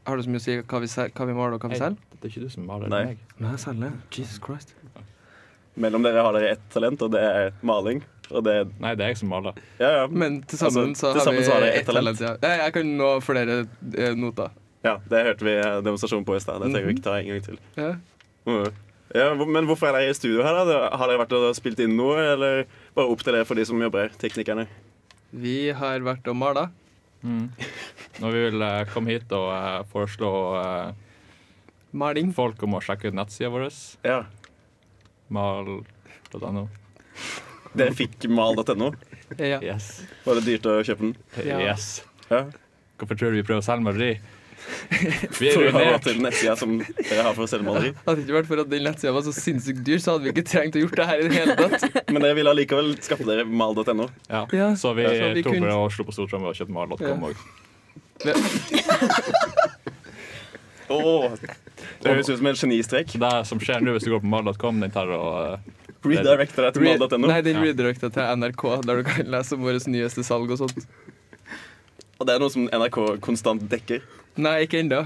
Speaker 4: har det så mye å si hva vi, sel- hva vi maler og hva vi
Speaker 7: Hei,
Speaker 4: selger?
Speaker 7: det er ikke du som maler
Speaker 1: Nei.
Speaker 7: meg.
Speaker 4: Nei, jeg selger. Jesus Christ.
Speaker 1: Mellom dere har dere ett talent, og det er maling. Og det
Speaker 7: Nei, det er jeg som maler.
Speaker 1: Ja, ja.
Speaker 4: Men til sammen
Speaker 1: Altså,
Speaker 4: så
Speaker 1: til
Speaker 4: har
Speaker 1: sammen
Speaker 4: vi
Speaker 1: så har dere
Speaker 4: ett
Speaker 1: ett talent.
Speaker 4: talent. Ja. Nei, Jeg kan nå flere eh, noter.
Speaker 1: ja det hørte vi eh, demonstrasjon på i stad. Det trenger
Speaker 4: Mhm.
Speaker 1: vi ikke ta en gang til.
Speaker 4: Ja.
Speaker 1: Mm. Ja, hvor- men hvorfor er dere i studio her, da? Det- Har dere vært og spilt inn noe, eller bare opp til dere for de som jobber her, teknikerne?
Speaker 4: Vi har vært og mala.
Speaker 7: Når vi vil eh, komme hit og eh, foreslå eh,
Speaker 4: Maling.
Speaker 7: folk om å sjekke ut nettsida vår,
Speaker 1: Ja.
Speaker 7: mal.no.
Speaker 1: Dere fikk mal.no.
Speaker 4: Ja.
Speaker 7: Yes.
Speaker 1: Var det dyrt å kjøpe den?
Speaker 4: Ja.
Speaker 7: yes.
Speaker 1: Ja.
Speaker 7: Hvorfor tror du vi prøver å selge maleri? Vi er
Speaker 1: For å ha råd
Speaker 7: ruinert.
Speaker 1: til nettsida som dere har for å selge maleri.
Speaker 4: Hadde det ikke vært for at den nettsida var så sinnssykt dyr, så hadde vi ikke trengt å gjort det her i det hele tatt.
Speaker 1: Men dere ville allikevel skaffe dere mal.no.
Speaker 7: Ja.
Speaker 4: Ja,
Speaker 7: Så vi
Speaker 4: så vi
Speaker 7: tok
Speaker 4: kunne-
Speaker 7: med og slo på stortromma og kjøpte mal.com
Speaker 4: Ja.
Speaker 7: òg.
Speaker 1: Åh, Det høres ut som en genistrek.
Speaker 7: Det som skjer nå hvis du går på mal.com, den tar og eh,
Speaker 1: Redirecte deg til
Speaker 4: Re-
Speaker 1: mal.no.
Speaker 4: Nei, den
Speaker 7: Ja.
Speaker 4: redirecta til NRK, der du kan lese om vårt nyeste salg og sånt.
Speaker 1: Og det er noe som NRK konstant dekker.
Speaker 4: Nei, ikke ennå.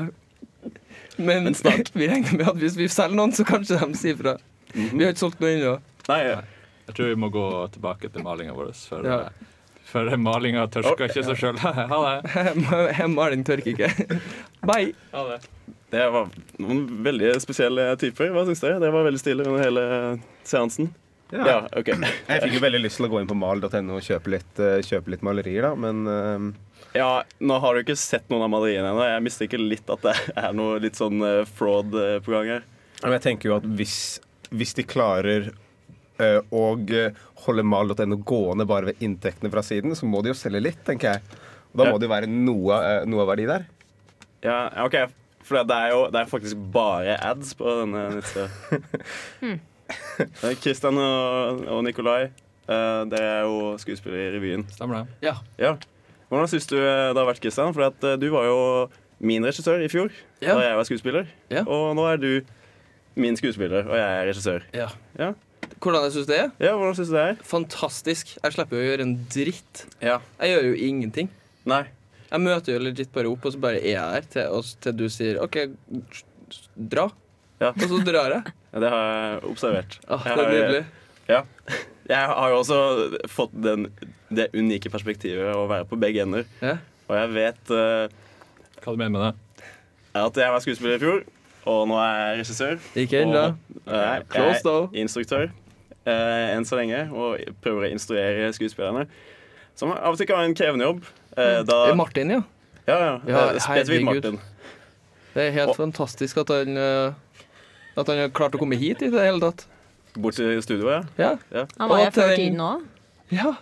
Speaker 4: Men, snart. vi regner med at hvis vi selger noen, så kanskje de sier fra. Vi har ikke solgt noe ennå.
Speaker 1: Nei,
Speaker 7: Jeg tror vi må gå tilbake til malinga vår, for,
Speaker 4: Ja.
Speaker 7: eh, for malinga tørsker ikke seg sjøl. ha det.
Speaker 4: Jeg- Maling tørker ikke. Bye.
Speaker 7: Ha det.
Speaker 1: det var noen veldig spesielle typer. Hva syns dere? Dere var veldig stille under hele seansen. Ja, ok.
Speaker 6: Jeg fikk jo veldig lyst til å gå inn på mal.no og kjøpe litt, eh, kjøpe litt malerier, da, men eh,
Speaker 1: Ja, Nå har du ikke sett noen av maleriene ennå. Jeg mistenker litt at det er noe litt sånn eh, fraud eh, på gang her.
Speaker 6: Men jeg tenker jo at hvis, hvis de klarer eh, å eh, holde mal.no gående bare ved inntektene fra siden, så må de jo selge litt, tenker jeg. Og da
Speaker 1: Ja.
Speaker 6: må det jo være noe, eh, noe av verdi der.
Speaker 1: Ja, ja, ok, For det er jo det er faktisk bare ads på denne nettstedet. Eh, Christian og, og Nikolai, eh, dere er jo skuespillere i revyen.
Speaker 7: Stemmer det?
Speaker 4: Ja.
Speaker 1: Ja. Hvordan syns du eh, det har vært, Christian? For at, eh, du var jo min regissør i fjor,
Speaker 4: Ja.
Speaker 1: da jeg var skuespiller.
Speaker 4: Ja.
Speaker 1: Og nå er du min skuespiller, og jeg er regissør.
Speaker 4: ja.
Speaker 1: Ja,
Speaker 4: Hvordan jeg syns det er?
Speaker 1: ja Hvordan syns du det er?
Speaker 4: Fantastisk. Jeg slipper jo å gjøre en dritt.
Speaker 1: Ja.
Speaker 4: Jeg gjør jo ingenting.
Speaker 1: Nei.
Speaker 4: Jeg møter jo legit bare opp, og så bare er jeg her til, og s- til du sier OK, s- s- dra.
Speaker 1: Ja.
Speaker 4: Og så drar jeg.
Speaker 1: Ja, Det har jeg observert.
Speaker 4: Åh,
Speaker 1: Jeg
Speaker 4: det er
Speaker 1: har-
Speaker 4: nydelig.
Speaker 1: Ja. Jeg har jo også fått den, det unike perspektivet å være på begge ender.
Speaker 4: Ja.
Speaker 1: Og jeg vet eh,
Speaker 7: Hva du mener med det?
Speaker 1: at jeg var skuespiller i fjor, og nå er jeg regissør.
Speaker 4: Ikke ennå.
Speaker 1: Og, eh,
Speaker 4: Close, though.
Speaker 1: jeg er instruktør eh, enn så lenge, og prøver å instruere skuespillerne. Som av og til kan være en krevende jobb. eh, da,
Speaker 4: Det er Mm. Martin, ja.
Speaker 1: ja, ja,
Speaker 4: Ja,
Speaker 1: eh, spesifikt
Speaker 4: herregud.
Speaker 1: Martin.
Speaker 4: Det er helt
Speaker 1: Og-
Speaker 4: fantastisk at han eh, At han har klart å komme hit i det hele tatt.
Speaker 1: Bort til studioet, ja.
Speaker 4: Ja.
Speaker 2: Han var
Speaker 4: Og
Speaker 2: jo før
Speaker 4: til-
Speaker 2: tiden òg.
Speaker 4: ja.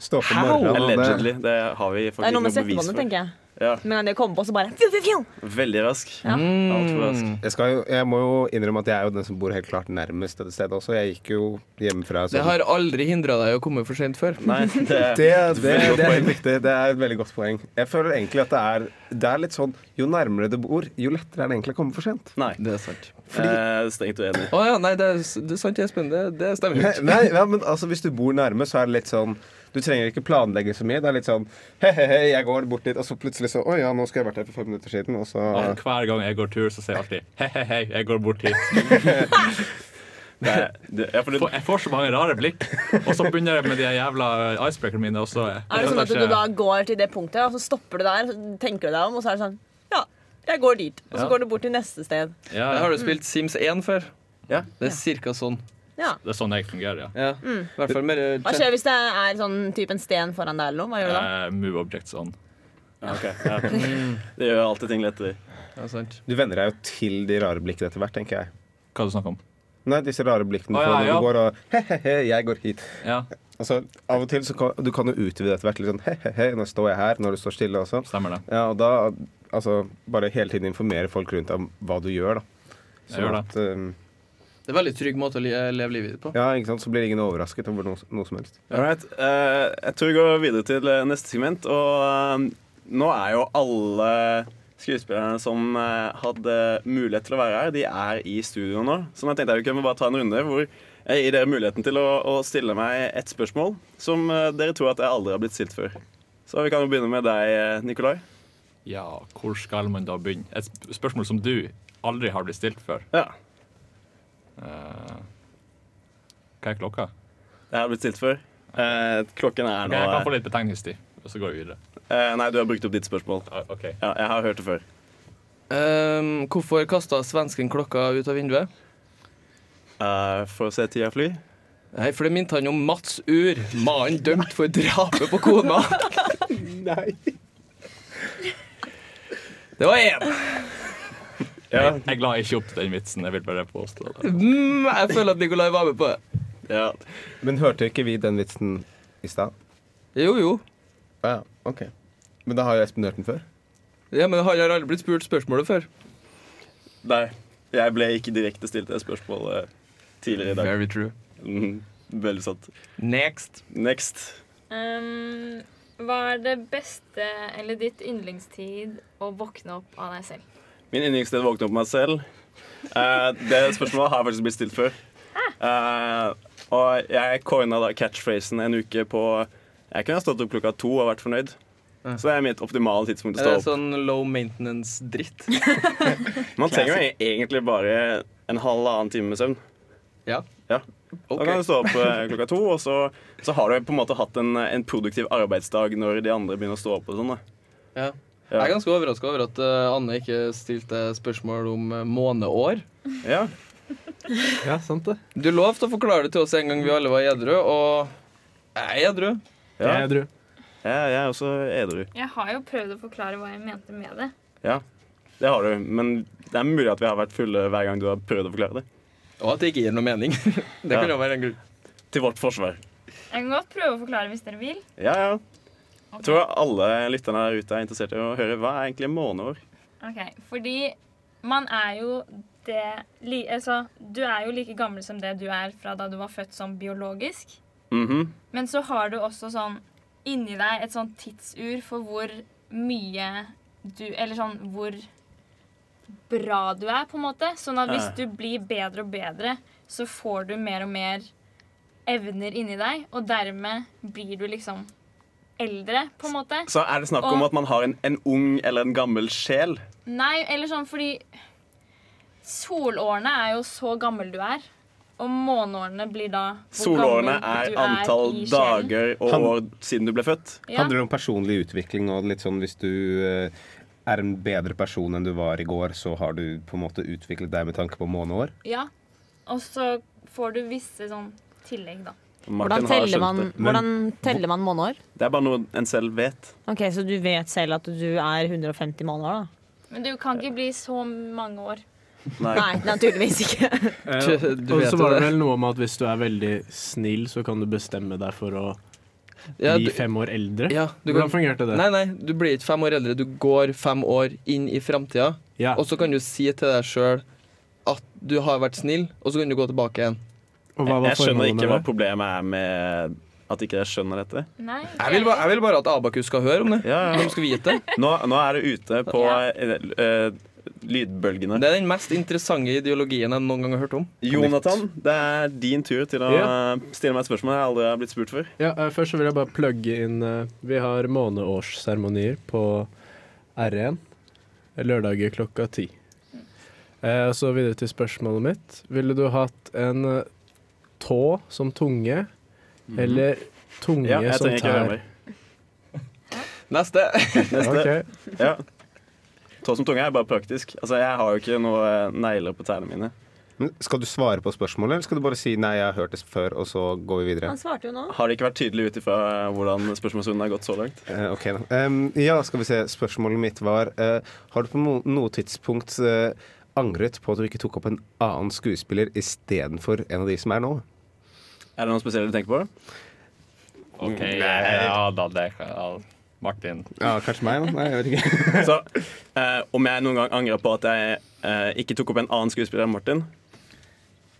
Speaker 6: Stå på
Speaker 4: How?
Speaker 6: morgenen. eh, og
Speaker 4: eh,
Speaker 1: Allegedly. Det har vi
Speaker 2: Det er
Speaker 1: faktisk
Speaker 2: noe med
Speaker 1: noe bevis
Speaker 2: settebåndet,
Speaker 1: for.
Speaker 2: tenker jeg.
Speaker 1: Ja,
Speaker 2: Med en gang det kommer på, så bare fju, fju, fju.
Speaker 1: veldig rask.
Speaker 2: Ja.
Speaker 1: Alt for
Speaker 4: Mm.
Speaker 1: rask.
Speaker 6: det- Jeg, skal, jo- jeg må jo innrømme at jeg er jo den som bor helt klart nærmest dette stedet også. Jeg gikk jo hjemmefra.
Speaker 4: Det har aldri hindra deg å komme for sent før.
Speaker 1: Nei, det,
Speaker 6: Det, det,
Speaker 1: Veldig godt
Speaker 6: det er
Speaker 1: poeng.
Speaker 6: helt riktig. Det er et veldig godt poeng. Jeg føler egentlig at det er, det er litt sånn Jo nærmere du bor, jo lettere er det egentlig å komme for sent.
Speaker 1: Nei.
Speaker 4: Det er sant.
Speaker 1: Eh, strengt uenig.
Speaker 4: Å ja, nei, det er, s- det er sant, Espen. Det, det stemmer jo
Speaker 6: Nei,
Speaker 4: ikke.
Speaker 6: nei, ja, men altså Hvis du bor nærme, så er det litt sånn Du trenger ikke planlegge så mye. Det er litt sånn He-he-he, jeg går bort dit, og så plutselig så Å ja, nå skulle jeg vært her for fem minutter siden, og så
Speaker 7: Og Eh, hver gang jeg går tur, så sier jeg alltid hei, hei, hei, jeg går bort hit.
Speaker 1: Det, er- det, ja, for det,
Speaker 7: Får- Jeg får så mange rare blikk. Og så begynner jeg med de jævla icebreakerne mine, og så eh,
Speaker 2: Er det sånn at du da går til det punktet, og så stopper du der, så tenker du deg om, og så er det sånn Ja, jeg går dit. Og så
Speaker 7: Ja.
Speaker 2: går du bort til neste sted.
Speaker 7: ja,
Speaker 4: Jeg
Speaker 7: ja.
Speaker 4: har du spilt Sims 1 før?
Speaker 1: Ja.
Speaker 4: Det er cirka sånn.
Speaker 2: Ja.
Speaker 7: Det er sånn jeg fungerer, ja.
Speaker 4: Ja. I hvert fall mer
Speaker 2: Mm. Hva skjer hvis det er sånn type en sten foran deg eller noe? Hva gjør du da?
Speaker 7: Eh, move objects on.
Speaker 1: ja, ok, ja. det gjør alltid ting lettere.
Speaker 4: Ja, sant.
Speaker 6: Du venner deg jo til de rare blikkene etter hvert, tenker jeg.
Speaker 7: Hva er det du snakker om?
Speaker 6: Nei, disse rare blikkene
Speaker 7: Å,
Speaker 6: på
Speaker 7: ja,
Speaker 6: når
Speaker 7: ja.
Speaker 6: du går og He-he-he, jeg går hit.
Speaker 7: Ja,
Speaker 6: Altså, Av og til så kan du kan jo utvide etter hvert. Litt sånn he-he-he, nå står jeg her, når du står stille også.
Speaker 7: stemmer det.
Speaker 6: Ja, og da altså, bare hele tiden informere folk rundt deg om hva du gjør, da.
Speaker 7: Jeg gjør
Speaker 6: at,
Speaker 7: det.
Speaker 6: um,
Speaker 4: Det er en veldig trygg måte å li- leve livet ditt på.
Speaker 6: ja, ikke sant? Så blir ingen overrasket over noe, noe som helst.
Speaker 1: All right. eh, jeg tror vi går videre til eh, neste segment. Og eh, nå er jo alle skuespillerne som eh, hadde mulighet til å være her, de er i studio nå. Så jeg tenkte jeg kunne bare ta en runde hvor jeg gir dere muligheten til å, å stille meg et spørsmål som eh, dere tror at jeg aldri har blitt stilt før. Så vi kan jo begynne med deg, eh, Nikolai.
Speaker 7: Ja, hvor skal man da begynne? Et sp- spørsmål som du aldri har blitt stilt før.
Speaker 1: Ja.
Speaker 7: Eh, hva er klokka?
Speaker 1: Jeg har blitt stilt før. Eh, klokken er
Speaker 7: Ok,
Speaker 1: nå
Speaker 7: jeg kan få
Speaker 1: eh,
Speaker 7: litt betegningstid, og så går vi videre.
Speaker 1: eh, Nei, du har brukt opp ditt spørsmål.
Speaker 7: Ah, Ok.
Speaker 1: Ja, jeg har hørt det før.
Speaker 4: Ehm, hvorfor kasta svensken klokka ut av vinduet?
Speaker 1: Eh, for å se tida fly.
Speaker 4: Nei, for det minte han om Mats Ur, mannen dømt for drapet på kona.
Speaker 6: Nei.
Speaker 4: Det var én.
Speaker 7: Jeg, jeg la ikke opp til den vitsen. Jeg vil bare påstå det.
Speaker 4: Mm, jeg føler at Nikolai var med på det.
Speaker 1: Ja.
Speaker 6: Men hørte ikke vi den vitsen i stad?
Speaker 4: Jo, jo.
Speaker 6: Ja, ok. Men da har jo Espen hørt den før.
Speaker 4: Ja, Men han har aldri blitt spurt spørsmålet før.
Speaker 1: Nei, jeg ble ikke direkte stilt det spørsmålet tidligere i dag.
Speaker 4: true.
Speaker 1: Mhm, Veldig sant.
Speaker 4: Next.
Speaker 1: Next.
Speaker 8: Um, hva er det beste eller ditt yndlingstid å våkne opp av deg selv?
Speaker 1: Min yndlingssted våkne opp meg selv. Eh, det spørsmålet har faktisk blitt stilt før. Eh, og jeg coina da catchphrasen en uke på Jeg kunne ha stått opp klokka to og vært fornøyd. Så det er mitt optimale tidspunkt å
Speaker 4: Er det
Speaker 1: stå opp.
Speaker 4: sånn low maintenance-dritt?
Speaker 1: Man trenger jo egentlig bare en halvannen time søvn.
Speaker 4: Ja.
Speaker 1: Ja. Da kan du stå opp eh, klokka to, og så, så har du på en måte hatt en, en produktiv arbeidsdag når de andre begynner å stå opp og sånn. da.
Speaker 4: Ja.
Speaker 1: Ja.
Speaker 4: Jeg er ganske overraska over at eh, Anne ikke stilte spørsmål om eh, måneår.
Speaker 1: Ja.
Speaker 6: Ja, sant det.
Speaker 4: Du lovte å forklare det til oss en gang vi alle var edru, og jeg er edru.
Speaker 1: Ja.
Speaker 5: Jeg er edru.
Speaker 1: Jeg, jeg er også edru.
Speaker 8: Jeg har jo prøvd å forklare hva jeg mente med det.
Speaker 1: Ja, det har du. Men det er mulig at vi har vært fulle hver gang du har prøvd å forklare det.
Speaker 4: Og at det ikke gir noe mening. Det kan
Speaker 1: Ja.
Speaker 4: jo være en grunn.
Speaker 1: Til vårt forsvar.
Speaker 8: Jeg kan godt prøve å forklare hvis dere vil.
Speaker 1: Ja, ja. Jeg tror alle lytterne der ute er interessert i å høre hva er egentlig måneår
Speaker 8: Ok, Fordi man er jo det li, altså, Du er jo like gammel som det du er fra da du var født som biologisk.
Speaker 1: Mhm.
Speaker 8: Men så har du også sånn inni deg et sånn tidsur for hvor mye du Eller sånn hvor bra du er, på en måte. Sånn at hvis
Speaker 1: Ja.
Speaker 8: du blir bedre og bedre, så får du mer og mer evner inni deg, og dermed blir du liksom eldre, på en måte.
Speaker 1: Så er det snakk om
Speaker 8: Og-
Speaker 1: at man har en, en ung eller en gammel sjel.
Speaker 8: Nei, eller sånn fordi Solårene er jo så gammel du er. Og måneårene blir da hvor
Speaker 1: Solårene
Speaker 8: gammel
Speaker 1: er
Speaker 8: du
Speaker 1: antall
Speaker 8: i sjelen.
Speaker 1: dager og
Speaker 6: Han-
Speaker 1: år siden du ble født.
Speaker 8: Ja.
Speaker 6: Handler det om personlig utvikling og litt sånn hvis du eh, er en bedre person enn du var i går, så har du på en måte utviklet deg med tanke på måneår?
Speaker 8: ja. Og så får du visse sånn tillegg, da.
Speaker 1: Martin
Speaker 2: Hvordan
Speaker 1: har
Speaker 2: teller
Speaker 1: skjønt
Speaker 2: man,
Speaker 1: det.
Speaker 2: hvordan teller man måneder?
Speaker 1: Det er bare noe en selv vet.
Speaker 2: Ok, Så du vet selv at du er 150 måneder, da?
Speaker 8: Men du kan ikke bli så mange år.
Speaker 1: Nei.
Speaker 2: Nei, naturligvis ikke.
Speaker 4: Tjø, du
Speaker 5: Eh, og
Speaker 4: vet
Speaker 5: så
Speaker 4: jo
Speaker 5: var det
Speaker 4: det.
Speaker 5: vel noe om at hvis du er veldig snill, så kan du bestemme deg for å
Speaker 4: Ja,
Speaker 5: bli
Speaker 4: du,
Speaker 5: fem år eldre.
Speaker 4: ja, du
Speaker 5: Hvordan
Speaker 4: kan,
Speaker 5: fungerte det?
Speaker 4: nei, nei, du blir ikke fem år eldre. Du går fem år inn i framtida,
Speaker 5: Ja.
Speaker 4: og så kan du si til deg sjøl at du har vært snill, og så kan du gå tilbake igjen.
Speaker 5: Og hva var
Speaker 1: Jeg skjønner
Speaker 5: formålet
Speaker 1: ikke
Speaker 5: med
Speaker 1: hva
Speaker 5: det?
Speaker 1: problemet er med at ikke jeg skjønner dette.
Speaker 8: Nei,
Speaker 4: Jeg vil, ba- jeg vil bare at Abakus skal høre om det.
Speaker 1: Ja, ja.
Speaker 4: De skal vite det.
Speaker 1: Nå, nå er det ute på
Speaker 8: Ja.
Speaker 1: eh, eh, lydbølgene.
Speaker 4: Det er den mest interessante ideologien jeg noen gang har hørt om.
Speaker 1: Jonathan, det er din tur til å
Speaker 5: Ja.
Speaker 1: eh, stille meg et spørsmål jeg aldri har blitt spurt før.
Speaker 5: Ja, eh, først så vil jeg bare plugge inn eh, Vi har måneårsseremonier på R1 lørdager klokka ti. Eh, og så videre til spørsmålet mitt. Ville du hatt en eh, tå som tunge, eller tunge
Speaker 1: Mhm. Ja, jeg
Speaker 5: som
Speaker 1: trenger ikke høre
Speaker 5: tær?
Speaker 1: mer.
Speaker 4: Neste.
Speaker 1: Neste.
Speaker 5: Ok.
Speaker 1: Ja. Tå som tunge er bare praktisk. Altså, Jeg har jo ikke noe eh, negler på tærne mine.
Speaker 6: Men skal du svare på spørsmålet, eller skal du bare si 'nei, jeg har hørt det før', og så går vi videre?
Speaker 2: Han svarte jo nå.
Speaker 1: Har det ikke vært tydelig ut ifra eh, hvordan spørsmålsrunden har gått så langt?
Speaker 6: Eh, ok da. Em, ja, skal vi se. Spørsmålet mitt var eh, Har du på no noe tidspunkt eh, angret på at du ikke tok opp en annen skuespiller istedenfor en av de som er nå?
Speaker 1: Er det noe spesielt du tenker på?
Speaker 7: OK, ja da, det kan ja. Martin.
Speaker 6: Ja, kanskje meg, da? Nei, jeg vet ikke.
Speaker 1: Så, eh, Om jeg noen gang angrer på at jeg eh, ikke tok opp en annen skuespiller enn Martin?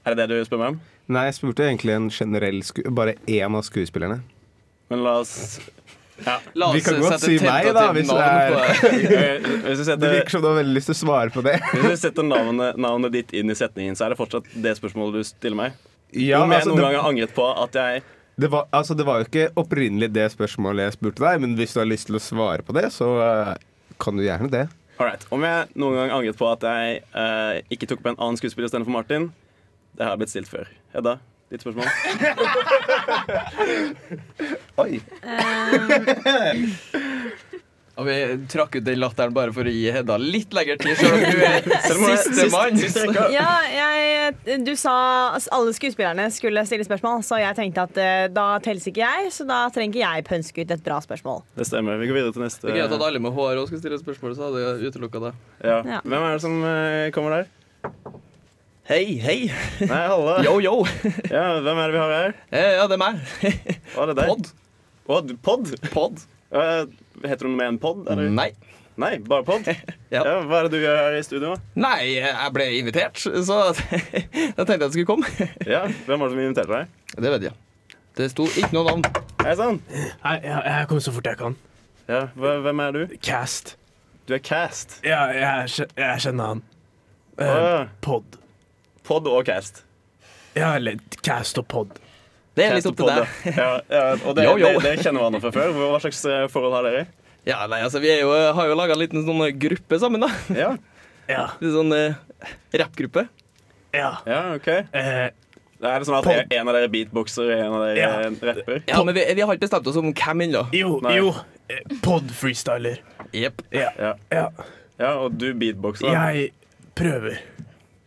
Speaker 1: Er det det du spør meg om?
Speaker 6: Nei, jeg spurte egentlig en generell sku bare én av skuespillerne.
Speaker 1: Men la oss
Speaker 4: La
Speaker 6: Vi
Speaker 4: oss
Speaker 6: kan godt
Speaker 4: sette
Speaker 6: si meg,
Speaker 4: tentativt
Speaker 6: da, hvis det
Speaker 4: navn
Speaker 6: er-
Speaker 4: på det.
Speaker 1: Eh, Hvis du
Speaker 6: Det
Speaker 1: setter,
Speaker 6: virker som du har veldig lyst til å svare på det.
Speaker 1: hvis du setter navnet, navnet ditt inn i setningen, så er det fortsatt det spørsmålet du stiller meg.
Speaker 6: Ja,
Speaker 1: om jeg
Speaker 6: altså,
Speaker 1: noen gang
Speaker 6: det,
Speaker 1: har angret på at jeg
Speaker 6: det, var, altså, det var jo ikke opprinnelig det spørsmålet jeg spurte deg, men hvis du har lyst til å svare på det, så eh, kan du gjerne det.
Speaker 1: Alright. Om jeg noen gang angret på at jeg eh, ikke tok på en annen skuespiller istedenfor Martin, det har jeg blitt stilt før. Hedda, ditt spørsmål?
Speaker 6: Oi.
Speaker 4: Og vi trakk ut den latteren bare for å gi Hedda litt lengre tid, selv om hun er
Speaker 1: Selv om jeg- sist-
Speaker 4: sistemann.
Speaker 1: sist rekka.
Speaker 2: Ja, jeg, du sa s- alle skuespillerne skulle stille spørsmål, så jeg tenkte at eh, da telles ikke jeg, så da trenger ikke jeg pønske ut et bra spørsmål.
Speaker 1: Det stemmer. Vi går videre til neste.
Speaker 4: Det er greit at alle med hår også skal stille spørsmål, så hadde jeg utelukka det.
Speaker 1: Ja.
Speaker 2: Ja.
Speaker 1: Hvem er det som eh, kommer der?
Speaker 4: Hei, hei.
Speaker 1: Nei, Halle.
Speaker 4: Yo, yo.
Speaker 1: Ja, hvem er det vi har her?
Speaker 4: Eh, Ja, det er meg.
Speaker 1: Å, det er deg.
Speaker 4: Pod.
Speaker 1: Å, du- Pod?
Speaker 4: Pod.
Speaker 1: Eh, heter hun med en pod? Eller?
Speaker 4: Nei.
Speaker 1: Nei, bare pod?
Speaker 4: Ja.
Speaker 1: Ja, hva er det du gjør her i studio?
Speaker 4: Nei, jeg ble invitert, så jeg tenkte jeg skulle komme.
Speaker 1: Ja, Hvem var det som inviterte deg?
Speaker 4: Det vet jeg. Det sto ikke noe navn.
Speaker 1: Hei sann.
Speaker 5: Nei, jeg, jeg kommer så fort jeg kan.
Speaker 1: Ja, hva- hvem er du?
Speaker 5: Cast.
Speaker 1: Du er cast.
Speaker 5: Ja, jeg, kje- jeg kjenner han.
Speaker 1: Å,
Speaker 5: Eh,
Speaker 1: ja.
Speaker 5: pod.
Speaker 1: Pod og cast.
Speaker 5: Ja, eller cast og pod.
Speaker 4: Det er
Speaker 1: Cast
Speaker 4: litt
Speaker 1: og
Speaker 4: opp til
Speaker 1: pod,
Speaker 4: deg.
Speaker 1: ja. Ja, ja, og det,
Speaker 4: Yo, yo.
Speaker 1: det, det kjenner hverandre fra før. Hva slags eh, forhold har dere?
Speaker 4: Ja, nei, altså, Vi er jo, har jo laga en liten sånn gruppe sammen, da.
Speaker 1: Ja,
Speaker 5: Ja,
Speaker 4: Litt sånn eh, rappgruppe.
Speaker 5: ja.
Speaker 1: ja ok.
Speaker 5: Eh,
Speaker 1: Er det sånn at
Speaker 5: Pod.
Speaker 1: en av dere er beatboxer og en av dere
Speaker 5: Ja.
Speaker 1: er rapper?
Speaker 4: Ja, men vi, vi har ikke bestemt oss om hvem ennå.
Speaker 5: jo,
Speaker 1: Nei.
Speaker 5: jo. eh, Pod freestyler.
Speaker 4: Jepp.
Speaker 1: Ja.
Speaker 5: Ja.
Speaker 1: ja, og du beatboxer?
Speaker 5: Jeg prøver.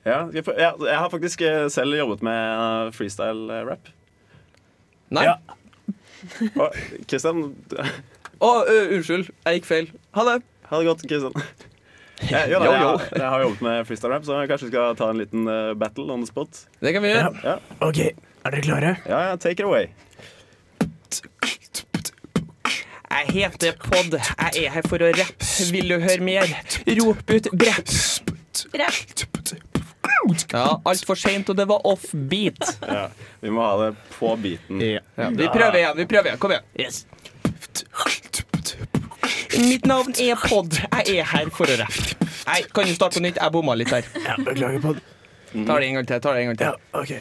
Speaker 1: Ja, jeg, får- ja, jeg har faktisk eh, selv jobbet med eh, freestyle-rap.
Speaker 4: Nei.
Speaker 5: Ja.
Speaker 1: Og Kristian,
Speaker 4: Å, ø, unnskyld. Jeg gikk feil. Ha det.
Speaker 1: Ha det godt, Kristian. Ja, jo, da, jeg, har- jeg har jobbet med freestyle rap, så jeg kanskje skal ta en liten eh, battle on the spot.
Speaker 4: Det kan vi gjøre.
Speaker 1: Ja,
Speaker 5: OK, er dere klare?
Speaker 1: ja, ja take it away.
Speaker 4: Jeg heter Pod. Jeg er her for å rappe. Vil du høre mer? Rop ut brepp. Ja, altfor seint, og det var offbeat.
Speaker 1: Ja, vi må ha det på beaten.
Speaker 4: Ja, vi prøver igjen. vi prøver igjen. Kom igjen. Mitt navn er Pod. Jeg er her for å rappe. Nei, kan du starte på nytt? Jeg bomma litt her.
Speaker 5: Ja, beklager på det.
Speaker 4: Tar det en gang til. tar det en gang til.
Speaker 5: OK.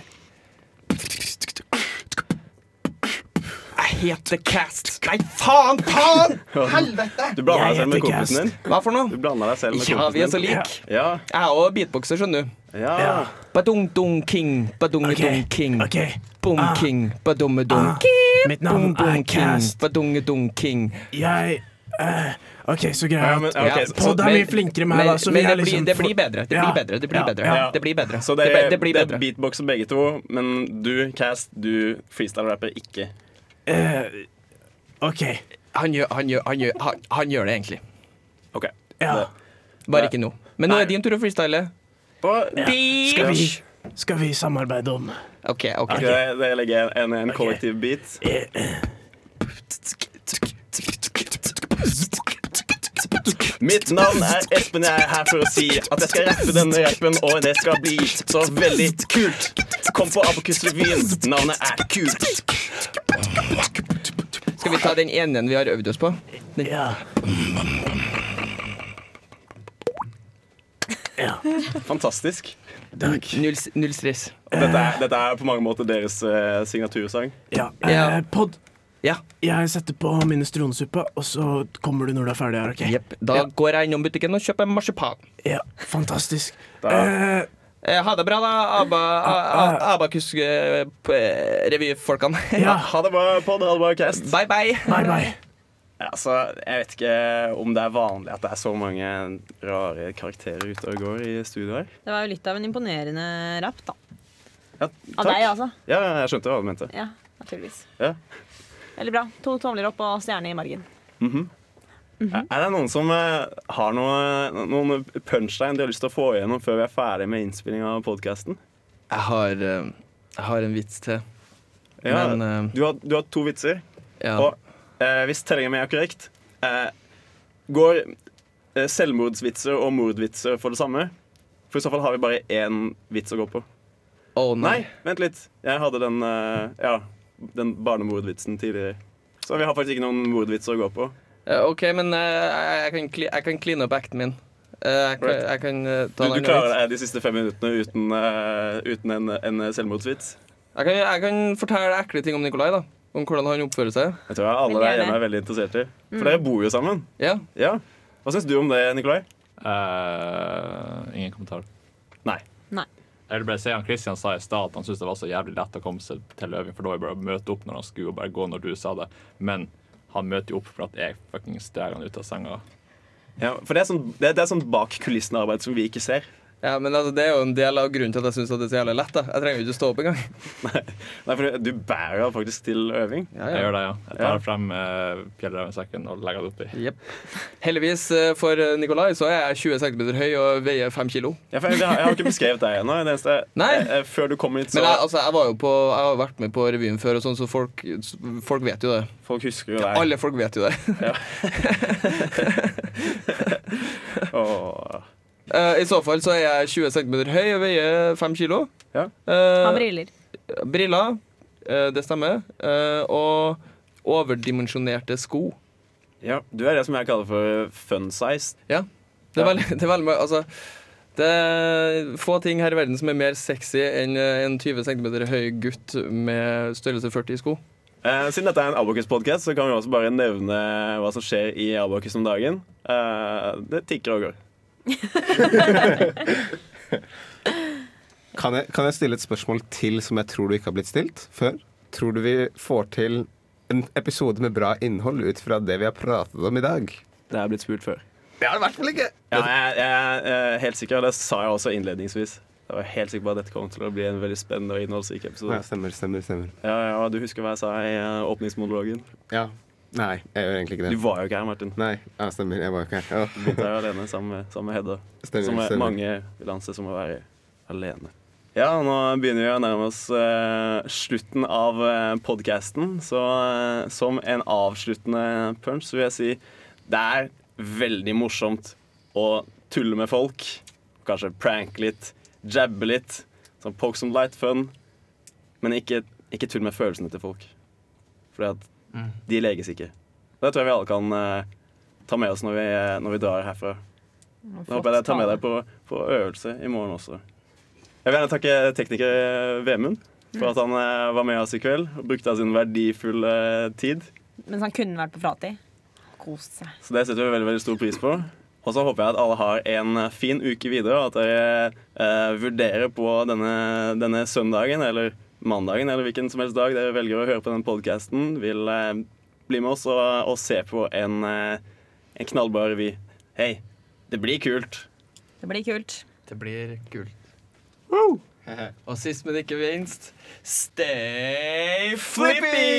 Speaker 4: Jeg heter Cast. Nei, faen! Faen!
Speaker 1: Du blanda deg
Speaker 5: Jeg
Speaker 1: selv med
Speaker 5: heter
Speaker 1: kompisen din.
Speaker 4: Hva for
Speaker 1: Du
Speaker 4: noe?
Speaker 1: blanda deg selv med
Speaker 4: Ja, vi er så
Speaker 1: kompisen din.
Speaker 4: like.
Speaker 1: Ja,
Speaker 4: Jeg er òg beatboxer, skjønner du.
Speaker 1: ja.
Speaker 5: Ja.
Speaker 4: Badung-dung-king, badung-dung-king. Bom-king, badum-dung-king.
Speaker 5: Ah. Mitt
Speaker 4: Bom-bom-king, badung-dung-king.
Speaker 5: Jeg eh, OK, så
Speaker 1: Ja,
Speaker 5: greia
Speaker 1: men,
Speaker 5: at
Speaker 1: ja, ok,
Speaker 4: Ja,
Speaker 1: så,
Speaker 5: Podd er mye flinkere enn meg, da, så vi
Speaker 4: men
Speaker 5: er
Speaker 4: det, blir,
Speaker 5: liksom
Speaker 4: det
Speaker 5: for-
Speaker 4: blir bedre. Det
Speaker 5: Ja.
Speaker 4: blir bedre. Det blir
Speaker 5: Ja.
Speaker 4: bedre.
Speaker 1: Ja.
Speaker 4: Det blir bedre.
Speaker 1: så det,
Speaker 4: det, blir- det blir
Speaker 1: det
Speaker 4: bedre.
Speaker 1: er beatboxer begge to, men du, Cast, du freestyle-rapper ikke.
Speaker 5: eh, OK.
Speaker 4: Han gjør, han, gjør, han, gjør, han, han gjør det egentlig.
Speaker 1: OK.
Speaker 5: Ja.
Speaker 4: Bare
Speaker 1: Nei.
Speaker 4: ikke nå. Men nå er det din tur å freestyle.
Speaker 1: Og, ja.
Speaker 5: Skal vi, skal vi samarbeide om
Speaker 4: OK. ok
Speaker 1: Ok, det, det legger jeg en, en kollektiv beat. Mitt navn er Espen, jeg er her for å si at jeg skal rappe denne rappen, og det skal bli så veldig kult. Kom på Abokus-revyen, navnet er kult.
Speaker 4: Skal vi ta den ene vi har øvd oss på?
Speaker 5: Ja.
Speaker 1: Fantastisk.
Speaker 4: Null, null stress.
Speaker 1: Dette er, dette er på mange måter deres eh, signatursang.
Speaker 5: ja.
Speaker 4: Ja.
Speaker 5: Eh, Pod,
Speaker 4: Ja.
Speaker 5: jeg setter på minestronesuppe, og så kommer du når du er ferdig her, OK?
Speaker 4: Jepp. Da går jeg innom butikken og kjøper marsipan.
Speaker 5: Ja, fantastisk.
Speaker 1: Da-
Speaker 5: Eh,
Speaker 4: Eh, ha det bra, da, Aba, a- a- eh, Abakus-revyfolkene.
Speaker 5: ja,
Speaker 1: Ha det bra, Pod. Ha det bra, Cast.
Speaker 4: bye, bye.
Speaker 5: bye bye.
Speaker 1: Ja, Altså, jeg vet ikke om det er vanlig at det er så mange rare karakterer ute og går i studio her.
Speaker 2: Det var jo litt av en imponerende rapp, da.
Speaker 1: Ja,
Speaker 2: Av deg, altså.
Speaker 1: Ja, ja, jeg skjønte hva du mente.
Speaker 2: Ja, naturligvis.
Speaker 1: Ja.
Speaker 2: Veldig bra. To tomler opp og stjerne i margen. Mhm.
Speaker 1: Er det noen som eh, har noe, noen punchline de har lyst til å få igjennom før vi er ferdig med innspilling av podkasten?
Speaker 4: Jeg har, eh, jeg har en vits til.
Speaker 1: Ja,
Speaker 4: Men eh,
Speaker 1: du, har- du har to vitser,
Speaker 4: ja.
Speaker 1: og eh, hvis tellingen min er korrekt, eh, går eh, selvmordsvitser og mordvitser for det samme? For i så fall har vi bare én vits å gå på.
Speaker 4: Å nei.
Speaker 1: Nei, vent litt. Jeg hadde den, eh, ja, den barnemordvitsen tidligere. Så vi har faktisk ikke noen mordvitser å gå på.
Speaker 4: Eh, OK, men eh, jeg, jeg, kan kli, jeg kan cleane opp acten min. Eh, jeg, kan,
Speaker 1: Right.
Speaker 4: jeg kan eh,
Speaker 1: Du,
Speaker 4: ta en
Speaker 1: du
Speaker 4: annen
Speaker 1: klarer
Speaker 4: vits.
Speaker 1: deg de siste fem minuttene uten, eh, uten en, en selvmordsvits.
Speaker 4: Jeg kan, jeg kan fortelle ekle ting om Nikolai, da. Om hvordan han oppfører seg.
Speaker 1: Jeg tror alle
Speaker 2: Veldig
Speaker 1: der
Speaker 2: gjerne.
Speaker 1: hjemme er veldig interessert i. For
Speaker 4: Mm.
Speaker 1: dere bor jo sammen.
Speaker 4: Ja.
Speaker 1: Ja. Hva syns du om det, Nikolai?
Speaker 7: Eh, ingen kommentar.
Speaker 1: Nei.
Speaker 2: Nei.
Speaker 7: Jeg vil bare si han Christian sa i stad at han syntes det var så jævlig lett å komme seg til øving, for da var jeg bare å møte opp når han skulle, og bare gå når du sa det. Men han møter jo opp for at jeg fucking steg han ut av senga.
Speaker 1: Ja, for det er, sånn, det, det er sånn bak kulissene-arbeid som vi ikke ser.
Speaker 4: ja, men altså, Det er jo en del av grunnen til at jeg syns det er så jævlig lett. da Jeg trenger jo ikke stå opp engang.
Speaker 1: Nei, for du bærer han faktisk til øving.
Speaker 4: Ja,
Speaker 7: Jeg
Speaker 4: ja.
Speaker 7: gjør det, ja. Jeg tar
Speaker 1: Ja.
Speaker 7: frem uh, fjellrevensekken og legger det oppi.
Speaker 4: Jep. Heldigvis eh, for eh, Nikolai så er jeg 20 cm høy og veier 5 kilo.
Speaker 1: Ja, for jeg, jeg, har, jeg har ikke beskrevet deg ennå. Det eneste
Speaker 4: Nei.
Speaker 1: eh, eh, Før du kom hit, så
Speaker 4: Men jeg, altså, jeg, var jo på, jeg har vært med på revyen før, og sånn, så folk, folk vet jo det.
Speaker 1: Folk husker jo deg.
Speaker 4: Alle folk vet jo det.
Speaker 1: Åh.
Speaker 4: Eh, I så fall så er jeg 20 cm høy og veier 5 kilo.
Speaker 1: Ja.
Speaker 4: Eh,
Speaker 2: Ha briller.
Speaker 4: briller. eh, det stemmer. Eh, og overdimensjonerte sko.
Speaker 1: Ja, du er det som jeg kaller for fun size.
Speaker 4: Det er
Speaker 1: Ja.
Speaker 4: veldig, det er veldig mye- altså, det er få ting her i verden som er mer sexy enn eh, en 20 cm høy gutt med størrelse 40 i sko.
Speaker 1: Eh, siden dette er en Abokus-podkast, så kan vi også bare nevne hva som skjer i Abokus om dagen. Eh, det tikker og går.
Speaker 6: Kan jeg, kan jeg stille et spørsmål til som jeg tror du ikke har blitt stilt før? Tror du vi får til en episode med bra innhold ut fra det vi har pratet om i dag?
Speaker 1: Det er blitt spurt før.
Speaker 6: Det har det i hvert fall ikke!
Speaker 1: Ja, jeg, jeg er helt sikker, og det sa jeg også innledningsvis. Jeg var helt sikker på at dette kom til å bli en veldig spennende og innholdsrik
Speaker 6: Ja,
Speaker 1: episode.
Speaker 6: stemmer, stemmer, stemmer.
Speaker 1: Ja, ja, Du husker hva jeg sa i eh, åpningsmonologen?
Speaker 6: Ja. Nei, jeg gjør egentlig ikke
Speaker 1: Du
Speaker 6: det.
Speaker 1: var jo ikke her, Martin.
Speaker 6: Nei, ja, stemmer. Jeg var jo ikke her.
Speaker 1: Du
Speaker 6: Ja.
Speaker 1: begynte her alene sammen med, sammen med Hedda.
Speaker 6: Stemmer,
Speaker 1: som er-
Speaker 6: stemmer.
Speaker 1: mange vil anse som å være alene. Ja, nå begynner vi å nærme oss eh, slutten av eh, podcasten. Så eh, som en avsluttende punch så vil jeg si det er veldig morsomt å tulle med folk. Kanskje pranke litt, jabbe litt. Sånn poke some light fun. Men ikke, ikke tull med følelsene til folk. For de leges ikke. Det tror jeg vi alle kan eh, ta med oss når vi, eh, når vi drar herfra. Da håper jeg jeg tar med deg på, på øvelse i morgen også. Jeg vil gjerne takke tekniker eh, Vemund for at han eh, var med oss i kveld og brukte av sin verdifulle eh, tid.
Speaker 2: Mens han kunne vært på fratid. Kost seg.
Speaker 1: Så det setter vi veldig, veldig stor pris på. Og så håper jeg at alle har en eh, fin uke videre, og at dere eh, vurderer på denne, denne søndagen eller mandagen eller hvilken som helst dag dere velger å høre på denne podkasten, vil eh, bli med oss og, og se på en, eh, en knallbra revy. Hei, det blir kult!
Speaker 2: Det blir kult.
Speaker 4: Det blir kult. Og sist, men ikke minst, stay flippy!